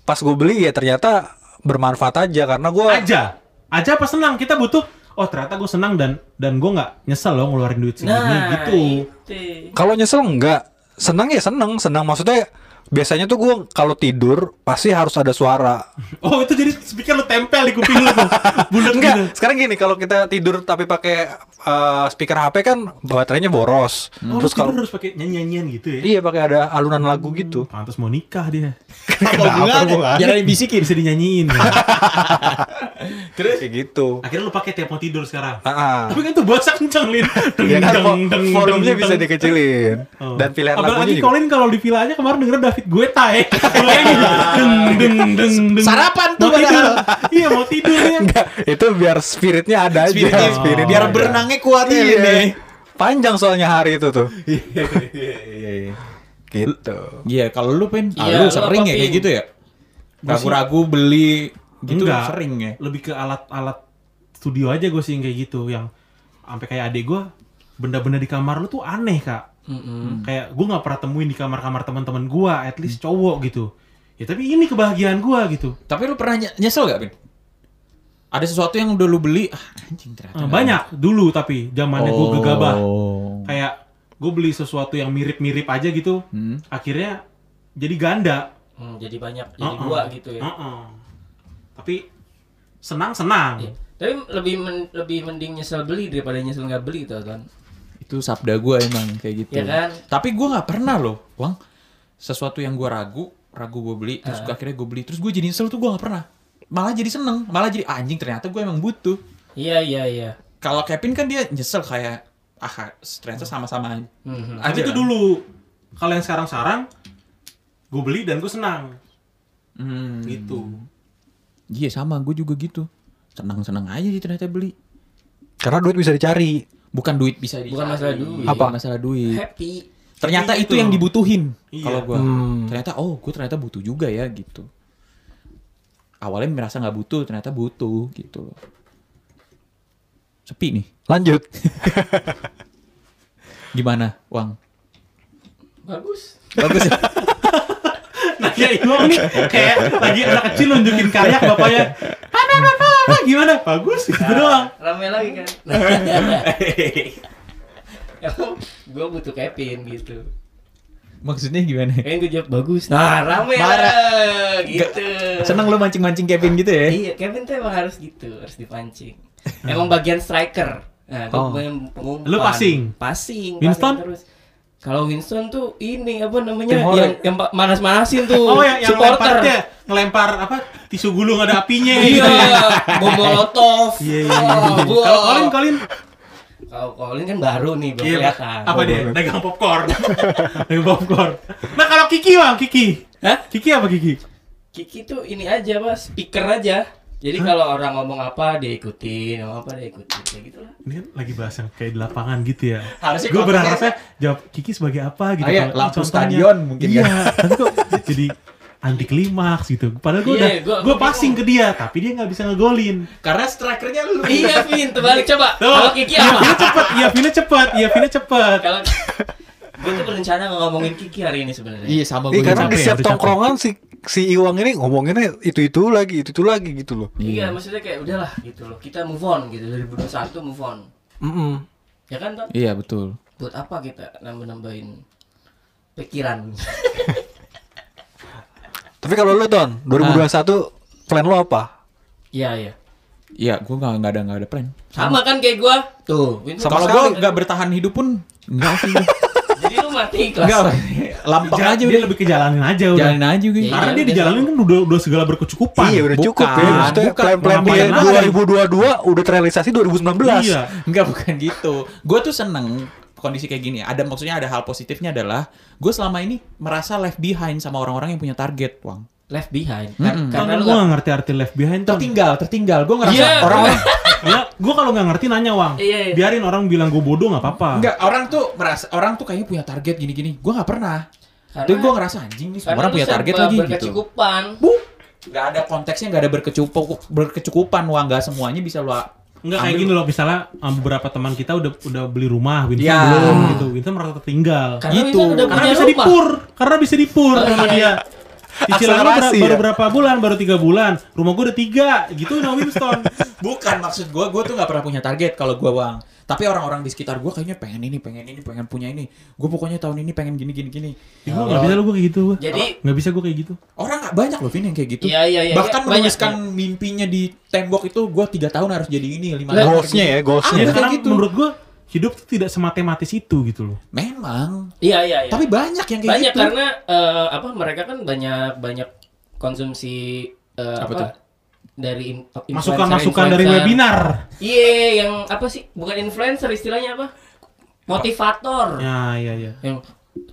C: Pas gue beli ya ternyata bermanfaat aja karena gue
D: aja. Aja apa senang? Kita butuh Oh ternyata gue senang dan dan gue nggak nyesel loh ngeluarin duit segini
A: Nah,
D: gitu.
A: itu.
C: kalau nyesel enggak senang ya senang senang maksudnya biasanya tuh gue kalau tidur pasti harus ada suara.
D: Oh itu jadi speaker lu tempel di kuping lu tuh. Bulat
C: Enggak,
D: gitu.
C: sekarang gini kalau kita tidur tapi pakai eh, speaker HP kan baterainya boros.
D: Oh,
C: Terus
D: Terus
C: kalau
D: harus pakai nyanyian gitu ya.
C: iya pakai ada alunan lagu gitu.
D: Pantas mau nikah dia.
B: Kenapa
C: hubungannya?
B: Jangan dibisikin.
D: Bisa dinyanyiin. ya. Hmm.
C: Terus kayak gitu.
D: Akhirnya lu pakai tiap mau tidur sekarang.
C: Ah, ah.
D: Tapi kan tuh bahasa kenceng, Lin. Deng,
C: Ya kan
D: deng,
C: vo-
D: deng,
C: volumenya
D: deng,
C: bisa
D: deng.
C: dikecilin
D: Oh.
C: dan pilihan
D: Apalagi
C: lagunya juga.
D: Colin kalau di villa aja kemarin denger David Guetta ya. Bayangin,
C: Ah.
D: deng, deng, deng, deng.
B: Sarapan tuh
D: Mau tidur.
B: padahal.
D: Iya mau tidur ya.
C: Enggak, itu biar spiritnya ada aja.
B: Spiritnya,
D: oh.
C: Spiritnya
B: biar
C: ada.
B: berenangnya kuat ya,
D: ya,
C: Iya.
B: ini nih.
C: Panjang soalnya hari itu tuh.
D: Iya,
C: gitu.
B: Iya, kalau lu pengen, ah,
A: Iya,
B: lu
A: lu
B: sering
A: apa,
B: ya kayak
A: Pin?
B: gitu ya.
D: Gua sih-
B: Ragu-ragu beli gitu
D: Enggak.
B: sering ya.
D: lebih ke alat-alat studio aja gue sih yang kayak gitu yang sampai kayak adek gue benda-benda di kamar lu tuh aneh kak kayak gue nggak pernah temuin di kamar-kamar teman-teman gue at least cowok gitu ya tapi ini kebahagiaan gue gitu
B: Tapi lu pernah nye- nyesel gak, Bin? Ada sesuatu yang udah lu beli, ah anjing ternyata.
D: Eh,
B: nggak
D: banyak dulu tapi zamannya gue
B: Oh.
D: gegabah kayak gue beli sesuatu yang mirip-mirip aja gitu
B: Hmm.
D: akhirnya jadi ganda
A: Hmm, jadi banyak, jadi
D: Uh-uh.
A: dua gitu ya.
D: Uh-uh. tapi senang senang
A: Iya. Tapi lebih men- lebih mending nyesel beli daripada nyesel nggak beli tuh kan.
B: Itu sabda gua emang kayak gitu.
A: Iya kan?
B: Tapi gua nggak pernah loh, Wang. Sesuatu yang gua ragu, ragu gua beli, terus gua akhirnya gua beli, terus gua jadi nyesel tuh gua nggak pernah. Malah jadi seneng, malah jadi "Ah, anjing ternyata gua emang butuh.
A: Iya iya iya.
B: Kalau Kevin kan dia nyesel kayak ah ternyata sama-sama aja.
A: Mhm.
D: tapi
B: Aja
D: itu
B: kan?
D: dulu kalau yang sekarang sarang gue beli dan gue senang
B: Hmm.
D: gitu
B: Iya sama, gue juga gitu. Senang-senang aja sih ternyata beli.
C: Karena duit bisa dicari.
B: Bukan duit bisa dicari.
A: Bukan masalah duit.
B: Apa?
A: Apa?
B: masalah duit.
A: Happy.
B: Ternyata
D: Intinya
B: itu
D: itu.
B: yang dibutuhin
D: Iya.
B: kalau gua.
C: Hmm.
B: Ternyata oh, gue ternyata butuh juga ya gitu. Awalnya merasa nggak butuh, ternyata butuh gitu loh. Sepi nih.
C: Lanjut.
B: Gimana, Wang?
A: Bagus.
B: Bagus.
D: Iya,
B: ya?
D: Nah, ya Iwang nih kayak lagi anak kecil nunjukin karya ke bapaknya. Apa, apa, apa, apa, gimana? Bagus,
A: Iya.
D: gitu doang.
A: Rame lagi kan. gue Ya, butuh Kevin gitu.
B: Maksudnya gimana?
A: Kevin gue jawab bagus. Nah, rame
B: Marah.
A: lah gitu.
B: Seneng lo mancing-mancing Kevin gitu ya?
A: Iya, Kevin tuh emang harus gitu, harus dipancing. Emang bagian striker. Nah, gue
B: Oh.
A: pengumpan.
D: Lu passing?
A: Passing.
D: Winston?
A: passing terus. Kalau Winston tuh ini apa namanya
C: Tim
A: yang
C: Horek.
A: yang pa- manas-manasin tuh
D: Oh, yang, yang
A: supporter.
D: lemparnya ngelempar apa tisu gulung ada apinya gitu.
A: Iya, bom molotov.
D: Iya, iya,
A: Oh,
D: iya.
A: gua-
D: Kalau Colin, Colin
A: Kalau Colin kan baru nih, belum
D: Iya,
A: kelihatan.
D: apa dia? Dagang popcorn. Dagang popcorn. Nah, kalau Kiki, Bang, Kiki.
A: Hah?
D: Kiki apa Kiki?
A: Kiki tuh ini aja pak, speaker aja. Jadi kalau orang ngomong apa dia ikutin, ngomong apa dia ikutin, kayak gitu lah.
D: Ini kan lagi bahas yang kayak di lapangan gitu ya.
B: Harusnya
D: gue
B: kontennya-
D: berharapnya jawab Kiki sebagai apa gitu.
B: Ah, iya,
D: Kalau ini
B: lampu
D: contohnya.
B: stadion mungkin
D: Iya,
B: kan.
D: tapi kok jadi anti klimaks gitu. Padahal gue
A: Iya,
D: udah
A: gua-
D: gue
A: gua
D: passing ke dia, tapi dia nggak bisa ngegolin.
B: Karena strikernya lu.
A: iya, Vin, terbalik coba.
D: Tuh,
A: Kalau Kiki
D: iya, Vina
A: apa?
D: cepet, iya Vina cepet, iya Vina cepet.
A: Kalau gue tuh berencana nggak ngomongin Kiki hari ini sebenarnya.
B: Iya sama
C: Ih,
B: gue.
C: karena
D: capek
C: di
D: ya,
C: setiap
D: udah capek.
C: tongkrongan si si Iwang ini ngomonginnya itu itu lagi itu itu lagi gitu loh.
A: Iya, maksudnya kayak udahlah gitu loh. Kita move on gitu 2021 move on.
C: Mm-mm.
A: Ya kan, Ton?
B: Iya betul.
A: Buat apa kita nambah-nambahin pikiran?
C: Tapi kalau lu Don, 2021 plan lu apa?
A: Iya, iya.
B: Iya, gue nggak nggak ada nggak ada plan.
A: Sama kan kayak gua. Tuh, Vin.
B: Kalau
A: Sama
B: gue
A: sekali.
B: nggak bertahan hidup pun nggak sih.
A: Jadi lu mati kelas.
B: Nggak, lampang
D: Dia-
B: aja
D: dia
B: udah.
D: lebih ke jalanin aja udah.
B: Jalanin aja gue.
A: Iya.
D: Karena dia dijalanin kan udah, udah segala berkecukupan.
C: iya udah
B: bukan,
C: cukup ya. Maksudnya
B: bukan.
C: plan-plan dia
D: Ngapain lagi?
C: 2022 udah terrealisasi 2019.
D: Iya.
B: Enggak bukan gitu. Gue tuh seneng kondisi kayak gini. Ada maksudnya ada hal positifnya adalah gue selama ini merasa left behind sama orang-orang yang punya target, Wang.
A: Left behind.
B: Mm-mm.
A: Karena lu
D: gue
A: nggak-
D: gak ngerti arti left behind tuh.
B: Tertinggal, tertinggal. Gue ngerasa
A: Iya.
B: orang-orang
D: Ya, gue kalau nggak ngerti nanya Wang.
A: Iya, iya.
D: Biarin orang bilang gue bodoh nggak apa-apa.
B: enggak orang tuh merasa orang tuh kayaknya punya target gini-gini. Gue nggak pernah.
A: Karena-
B: Tapi gue ngerasa anjing nih semua orang punya target lagi gitu.
A: Berkecukupan.
B: Bu, nggak ada konteksnya, nggak ada berkecukup berkecukupan, wah nggak semuanya bisa lu
D: Enggak kayak
B: Ambil.
D: gini loh, misalnya um, beberapa teman kita udah udah beli rumah, Winston
B: Ya.
D: belum gitu. Winston merasa tertinggal.
A: Karena
B: Gitu.
A: Winston udah
D: Karena
A: punya
D: bisa
A: rumah.
D: dipur, karena bisa dipur sama dia. Cicilan lu ber-
C: Akselerasi
D: baru
C: ya?
D: berapa bulan? Baru tiga bulan. Rumah gue udah tiga, gitu no Winston.
B: Bukan maksud gue, gue tuh nggak pernah punya target kalau gue bang. Tapi orang-orang di sekitar gue kayaknya pengen ini, pengen ini, pengen punya ini. Gue pokoknya tahun ini pengen gini, gini, gini.
D: Ih, gua nggak bisa lu gue kayak gitu. Gua.
A: Jadi-
D: nggak bisa gue kayak gitu.
B: Orang nggak banyak loh Vin yang kayak gitu.
A: Iya, iya, iya,
B: Bahkan
A: iya, banyak,
B: menuliskan mimpinya di tembok itu gue tiga tahun harus jadi ini, lima
A: Lah,
B: tahun. harus
C: Goalsnya
B: jadi-
C: ya, goalsnya.
D: Ya,
B: Ada. kayak
D: sekarang
B: gitu.
D: menurut gue hidup tuh tidak sematematis itu gitu loh.
B: Memang.
A: Iya, iya, iya.
B: Tapi banyak yang kayak
A: banyak
B: gitu.
A: karena eh, apa mereka kan banyak banyak konsumsi eh,
B: Apa
A: apa,
B: tuh?
A: dari in- influencer-
D: Masukan-masukan dari
A: influencer.
D: webinar.
A: Iya, yang apa sih? Bukan influencer istilahnya apa? Motivator.
D: Ya, ya, ya.
A: Yang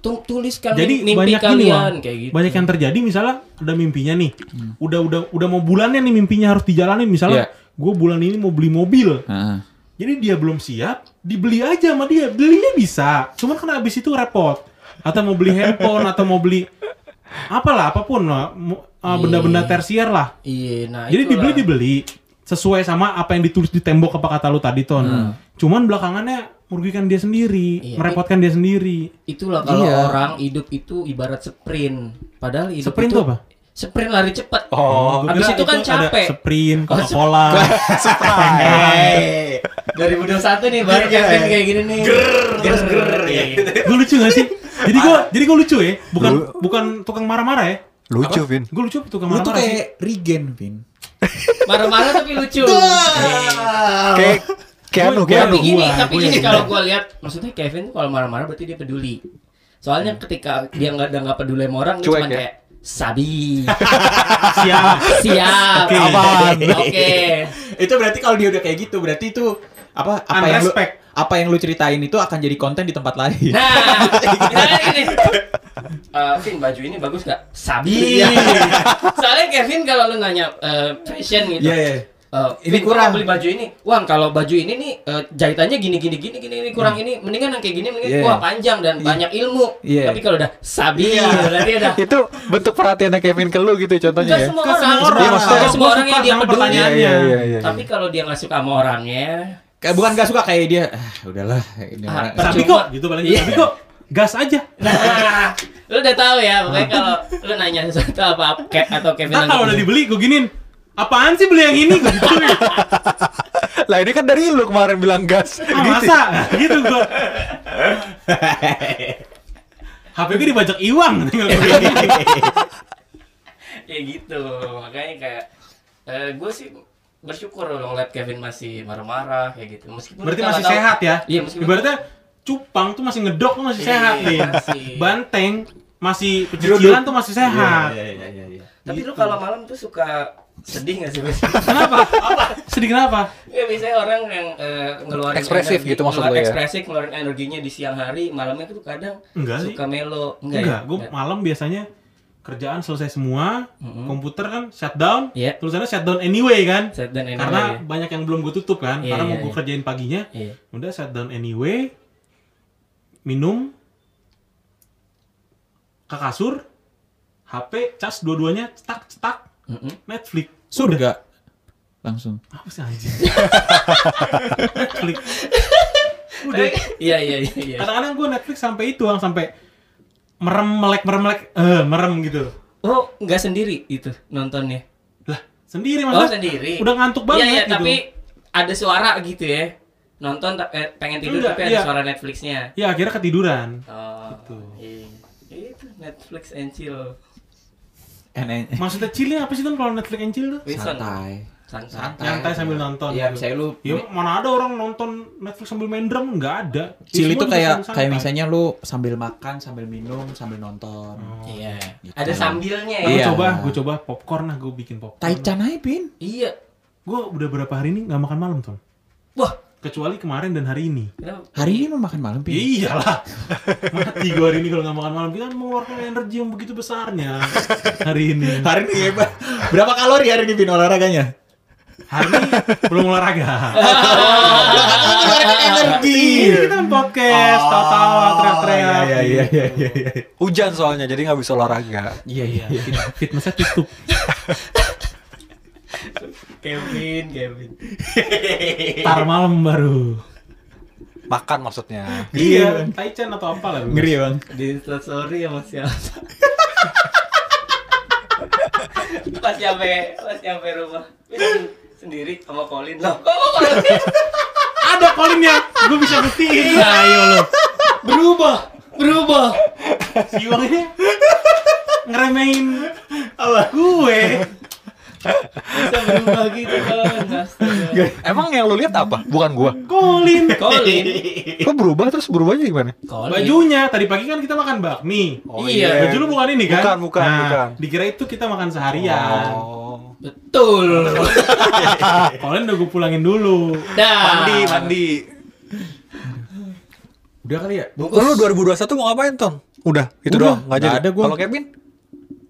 A: tu- tuliskan
D: Jadi
A: mim- mimpi
D: banyak ini Wang.
A: kalian kayak gitu.
D: Banyak yang terjadi misalnya ada mimpinya nih. Udah udah udah mau bulannya nih mimpinya harus dijalanin
B: Iya.
D: misalnya gue bulan ini mau beli mobil.
B: Heeh.
D: Jadi dia belum siap, dibeli aja sama dia. Belinya bisa, cuman kan abis itu repot. Atau mau beli handphone atau mau beli apalah apapun lah, mu- uh, benda-benda tersier lah.
A: Iya, nah
D: Jadi
A: itulah.
D: dibeli dibeli sesuai sama apa yang ditulis di tembok apa kata lu tadi Ton. Cuman belakangannya merugikan dia
A: Iya.
D: sendiri, merepotkan dia sendiri.
A: Itulah kalau
B: Iya.
A: orang hidup itu ibarat sprint. Padahal hidup
D: Sprint
A: itu
D: tuh apa?
A: Sprint lari cepat.
C: Oh,
D: Gua
A: Habis
D: kira
A: itu kan
D: ada
A: capek.
D: Sprint, Coca-Cola.
A: Hey, 2021 nih baru Kevin kayak gini nih. Iya. Terus ger.
D: gue lucu gak sih? Jadi gue jadi gue lucu ya, bukan bukan tukang marah-marah ya.
C: Lucu, Vin.
D: Gue lucu apa tukang
B: Lu tuh
D: marah-marah sih?
B: kayak Regen, Vin.
A: Marah-marah tapi lucu. Iya. Ah.
C: Kayak kayak anu,
D: Gua-
C: kayak
D: gua-
C: anu.
A: tapi gini,
D: gua-
A: tapi
D: gua-
A: gini
D: gua-
A: kalau gua lihat maksudnya Kevin tuh kalau marah-marah berarti dia peduli. Soalnya ketika dia nggak ada nggak peduli sama orang dia
C: Cuek
A: cuma
C: ya?
A: kayak sabi.
D: Siap.
A: Siap.
D: Oke.
A: Apaan? Oke.
B: itu berarti kalau dia udah kayak gitu, berarti itu apa apa yang lu,
D: Unrespect.
B: apa yang lu ceritain itu akan jadi konten di tempat lain.
A: Nah, misalnya gini. Eh, Vin, baju ini bagus gak? Sabi. Soalnya Kevin kalau lu nanya eh, fashion gitu.
B: Iya, iya.
A: eh,
B: Ini
A: "Vin, gua
B: kurang."
A: mau beli baju ini uang kalau baju ini nih eh, jahitannya gini gini gini gini ini kurang ini mendingan yang kayak gini mendingan
B: Iya.
A: wah panjang dan banyak ilmu
B: Iya.
A: tapi kalau udah sabi berarti udah
C: itu bentuk perhatiannya Kevin ke lu gitu contohnya
A: Enggak
C: ya.
A: semua
D: Ke
A: orang,
D: semua orang.
A: Iya, maksudnya
D: Gua
A: semua orang
D: suka
A: yang dia
D: sama
A: peduli.
D: pertanyaannya.
C: Iya, iya, iya,
A: Tapi kalau dia nggak suka sama orangnya,
B: Kayak bukan gak suka kayak dia. Ah, udahlah. Ini
A: Ah,
B: orang.
A: percuma.
D: Tapi kok gitu paling
A: Iya.
D: tapi kok gas aja.
A: nah, lu udah tahu ya, pokoknya kalau lu nanya sesuatu apa Cap atau Kevin yang
D: Ntar Kan kalau
A: gitu.
D: udah dibeli gue giniin. Apaan sih beli yang ini? Gua gituin.
C: Lah ini kan dari lu kemarin bilang gas. ya?
D: Ah, masa? Gitu gua. HP gue dibajak iwang tinggal gua giniin.
A: ya gitu, makanya kayak eh, gue sih bersyukur lo ngeliat Kevin masih marah-marah kayak gitu. Meskipun
D: Berarti
A: kita
D: masih
A: nggak tahu-
D: sehat ya?
A: Iya, meskipun
D: Ibaratnya cupang tuh masih ngedok tuh masih
A: Iya,
D: sehat nih.
A: masih. Iya,
D: Banteng masih pecicilan tuh masih sehat.
B: Iya, iya, iya, iya.
A: tapi lu kalau malam tuh suka sedih nggak sih? Mas?
D: Kenapa? Sedih kenapa?
A: Ya biasanya orang yang eh, ngeluarin
C: Ekspresif gitu maksud
A: ngeluar-
C: lu ya?
A: Ekspresif ngeluarin energinya di siang hari, malamnya tuh kadang
D: Enggak sih.
A: suka melo. Enggak,
D: Enggak,
A: ya?
D: gue
A: Enggak.
D: malam biasanya kerjaan selesai semua,
A: Mm-mm.
D: komputer kan shutdown,
A: Iya.
D: tulisannya shutdown anyway kan,
A: Shutdown anyway,
D: karena
A: iya.
D: banyak yang belum gue tutup kan,
A: Iya,
D: karena
A: iya,
D: mau gue
A: iya.
D: kerjain paginya,
A: Iya.
D: udah shutdown anyway, minum, ke kasur, HP, cas dua-duanya, cetak cetak,
A: Mm-mm.
D: Netflix,
B: Surga. Langsung.
D: apa sih anjing? Netflix, udah.
A: Iya iya iya. iya.
D: Kadang-kadang gue Netflix sampai itu, Ang, sampai merem melek merem melek, eh merem gitu.
A: Oh, nggak sendiri itu nontonnya.
D: Lah, sendiri
A: Oh,
D: maksudnya.
A: sendiri.
D: Udah ngantuk banget
A: Iya, iya,
D: gitu.
A: tapi ada suara gitu ya. Nonton ta- eh, pengen tidur
D: Enggak,
A: tapi ada
D: iya.
A: suara Netflixnya.
D: Ya akhirnya ketiduran.
A: Oh,
D: Gitu.
A: iya. Itu Netflix and chill.
B: Enak.
D: Maksudnya chillnya apa sih tuh kalau Netflix and chill tuh?
A: Winston.
B: Santai.
A: Santai.
D: Nyantai sambil nonton.
B: Iya,
D: gitu.
B: misalnya lu
D: Ya mana ada orang nonton Netflix sambil main drum nggak ada. Ya,
B: Chill
D: semua
B: itu
D: juga
B: kayak
D: sambil
B: kayak
D: santai.
B: misalnya lu sambil makan, sambil minum, sambil nonton.
A: Iya.
B: Gitu.
A: Ada sambilnya ya.
D: Nah, gua
B: Iya.
D: coba, gue coba popcorn lah, gue bikin popcorn.
B: Taichan aja, Pin.
A: Iya.
D: Gue udah berapa hari ini nggak makan malam tuh.
A: Wah,
D: Kecuali kemarin dan hari ini.
A: kenapa?
B: Hari ini lu makan malam,
D: Ya
B: Pin.
D: iyalah. Mati gue hari ini kalau nggak makan malam. Kita mengeluarkan energi yang begitu besarnya hari ini.
B: Hari ini hebat. Berapa kalori hari ini, Pin, olahraganya?
D: Hari ini belum olahraga.
B: Keluarin energi.
D: Iya, kita kan podcast, tawa-tawa,
B: Oh,
D: teriak-teriak.
B: Iya, iya, iya, iya, iya.
C: Hujan soalnya jadi nggak bisa olahraga.
B: Iya,
D: Iya, fit- fitnessnya tutup.
A: Kevin, Kevin.
D: Tar malam baru.
C: Makan maksudnya.
D: Iya, Taichan atau apa lah.
B: Ngeri, ya, Bang.
A: Di Instastory sama siapa? pas nyampe, pas nyampe rumah. Winston sendiri sama Colin. Loh, kok sama Colin?
D: Ada kolinnya, gue bisa buktiin. Nah, ayo lo.
A: berubah, berubah.
D: Si Iwang ini ngeremehin gue.
A: Bisa berubah gitu kan. astaga.
C: Emang yang lu lihat apa? Bukan gua.
D: Kolin.
A: Colin.
C: Kok berubah terus berubahnya gimana?
B: Iya.
A: Colin.
D: Bajunya, tadi pagi kan kita makan bakmi.
A: Iya,
D: Baju lu bukan ini kan?
C: Bukan, bukan,
D: Nah,
C: bukan.
D: Dikira itu kita makan seharian.
C: Oh.
A: Betul.
D: Kolin udah gue pulangin dulu.
A: Dah.
C: Mandi, mandi.
B: Udah kali ya?
A: Bungkus.
C: Lu 2021 mau ngapain, Ton? Udah, itu
B: Udah,
C: doang. Enggak
B: nggak
C: jadi.
B: ada gua.
C: Kalau Kevin?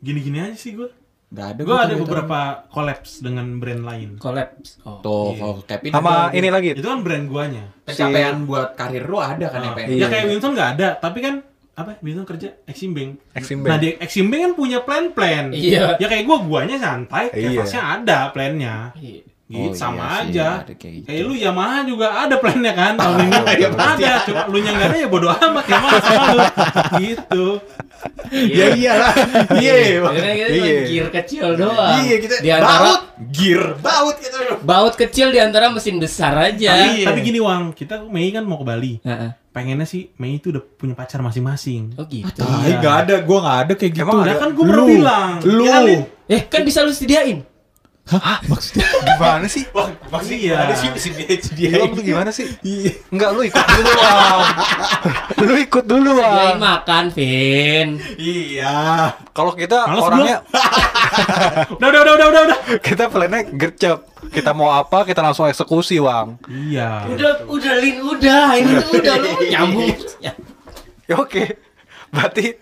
D: Gini-gini aja sih gue.
B: Gak ada.
D: Gue
B: gua
D: ada
B: tuh,
D: beberapa collabs dengan brand lain.
A: Collapse. Oh.
B: Tuh,
D: Iya.
B: kalau Kevin
C: Sama
B: ada.
C: ini lagi.
D: Itu kan brand guanya.
B: pencapaian buat karir lu ada kan ya,
D: Nah,
B: Pen?
D: ya
C: Iya,
D: kayak
C: iya.
D: Wilson nggak ada, tapi kan apa? Wilson kerja Exim Bank.
C: Exim
D: Nah,
C: Bank.
D: di Exim Bank kan punya plan-plan.
A: Iya.
D: Ya kayak gua guanya santai,
C: Iya.
D: Kevasnya ada plan-nya.
A: Iya.
D: Gitu
B: Oh, iya
D: sama
B: sih,
D: aja. Iya.
B: ada kayak gitu.
D: Kayak lu Yamaha juga ada plan-nya kan tahun ini.
C: Ah,
B: Iya, pasti
D: ada, cuma lu nya nggak ada ya bodo amat Yamaha sama lu. Gitu.
B: Iya, iyalah. Iya. Bang.
A: Akhirnya kita cuma
C: Iya.
A: gear kecil doang.
B: Iya, kita
A: di antara
B: baut, gear, baut gitu. kita.
A: baut kecil di antara mesin besar aja.
D: Tapi,
B: Iya. Ya.
D: tapi gini Wang, kita Mei kan mau ke Bali.
A: Heeh.
D: Pengennya sih Mei itu udah punya pacar masing-masing.
A: Oh gitu.
B: Tai enggak ada, gua enggak ada kayak gitu.
C: Emang
D: Udah
C: ada?
D: kan gua pernah
B: Lu.
D: bilang.
B: Lu.
D: Ya, Lin.
A: Eh, kan bisa lu sediain.
B: Hah? Maksudnya?
C: Gimana sih?
B: Wah,
D: maksudnya ada
B: ada
D: sih,
B: sih si dia
C: Lu tuh Iya, gimana sih?
B: Iya.
C: Enggak, lu ikut dulu, Wang. lu ikut dulu,
A: Sediain
C: Wang.
A: makan, Vin.
B: Iya.
C: Kalau kita
D: Males
C: orangnya
D: Udah, udah, udah, udah, udah, udah.
C: kita plannya gercep. Kita mau apa, kita langsung eksekusi, Wang.
D: Iya.
A: Udah, udah Lin, udah. Ini tuh udah lu Iya. nyambung.
C: Ya oke. Berarti
B: Ya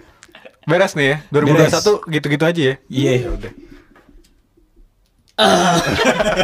C: beres nih ya. 2021 gitu-gitu aja ya.
B: Iya.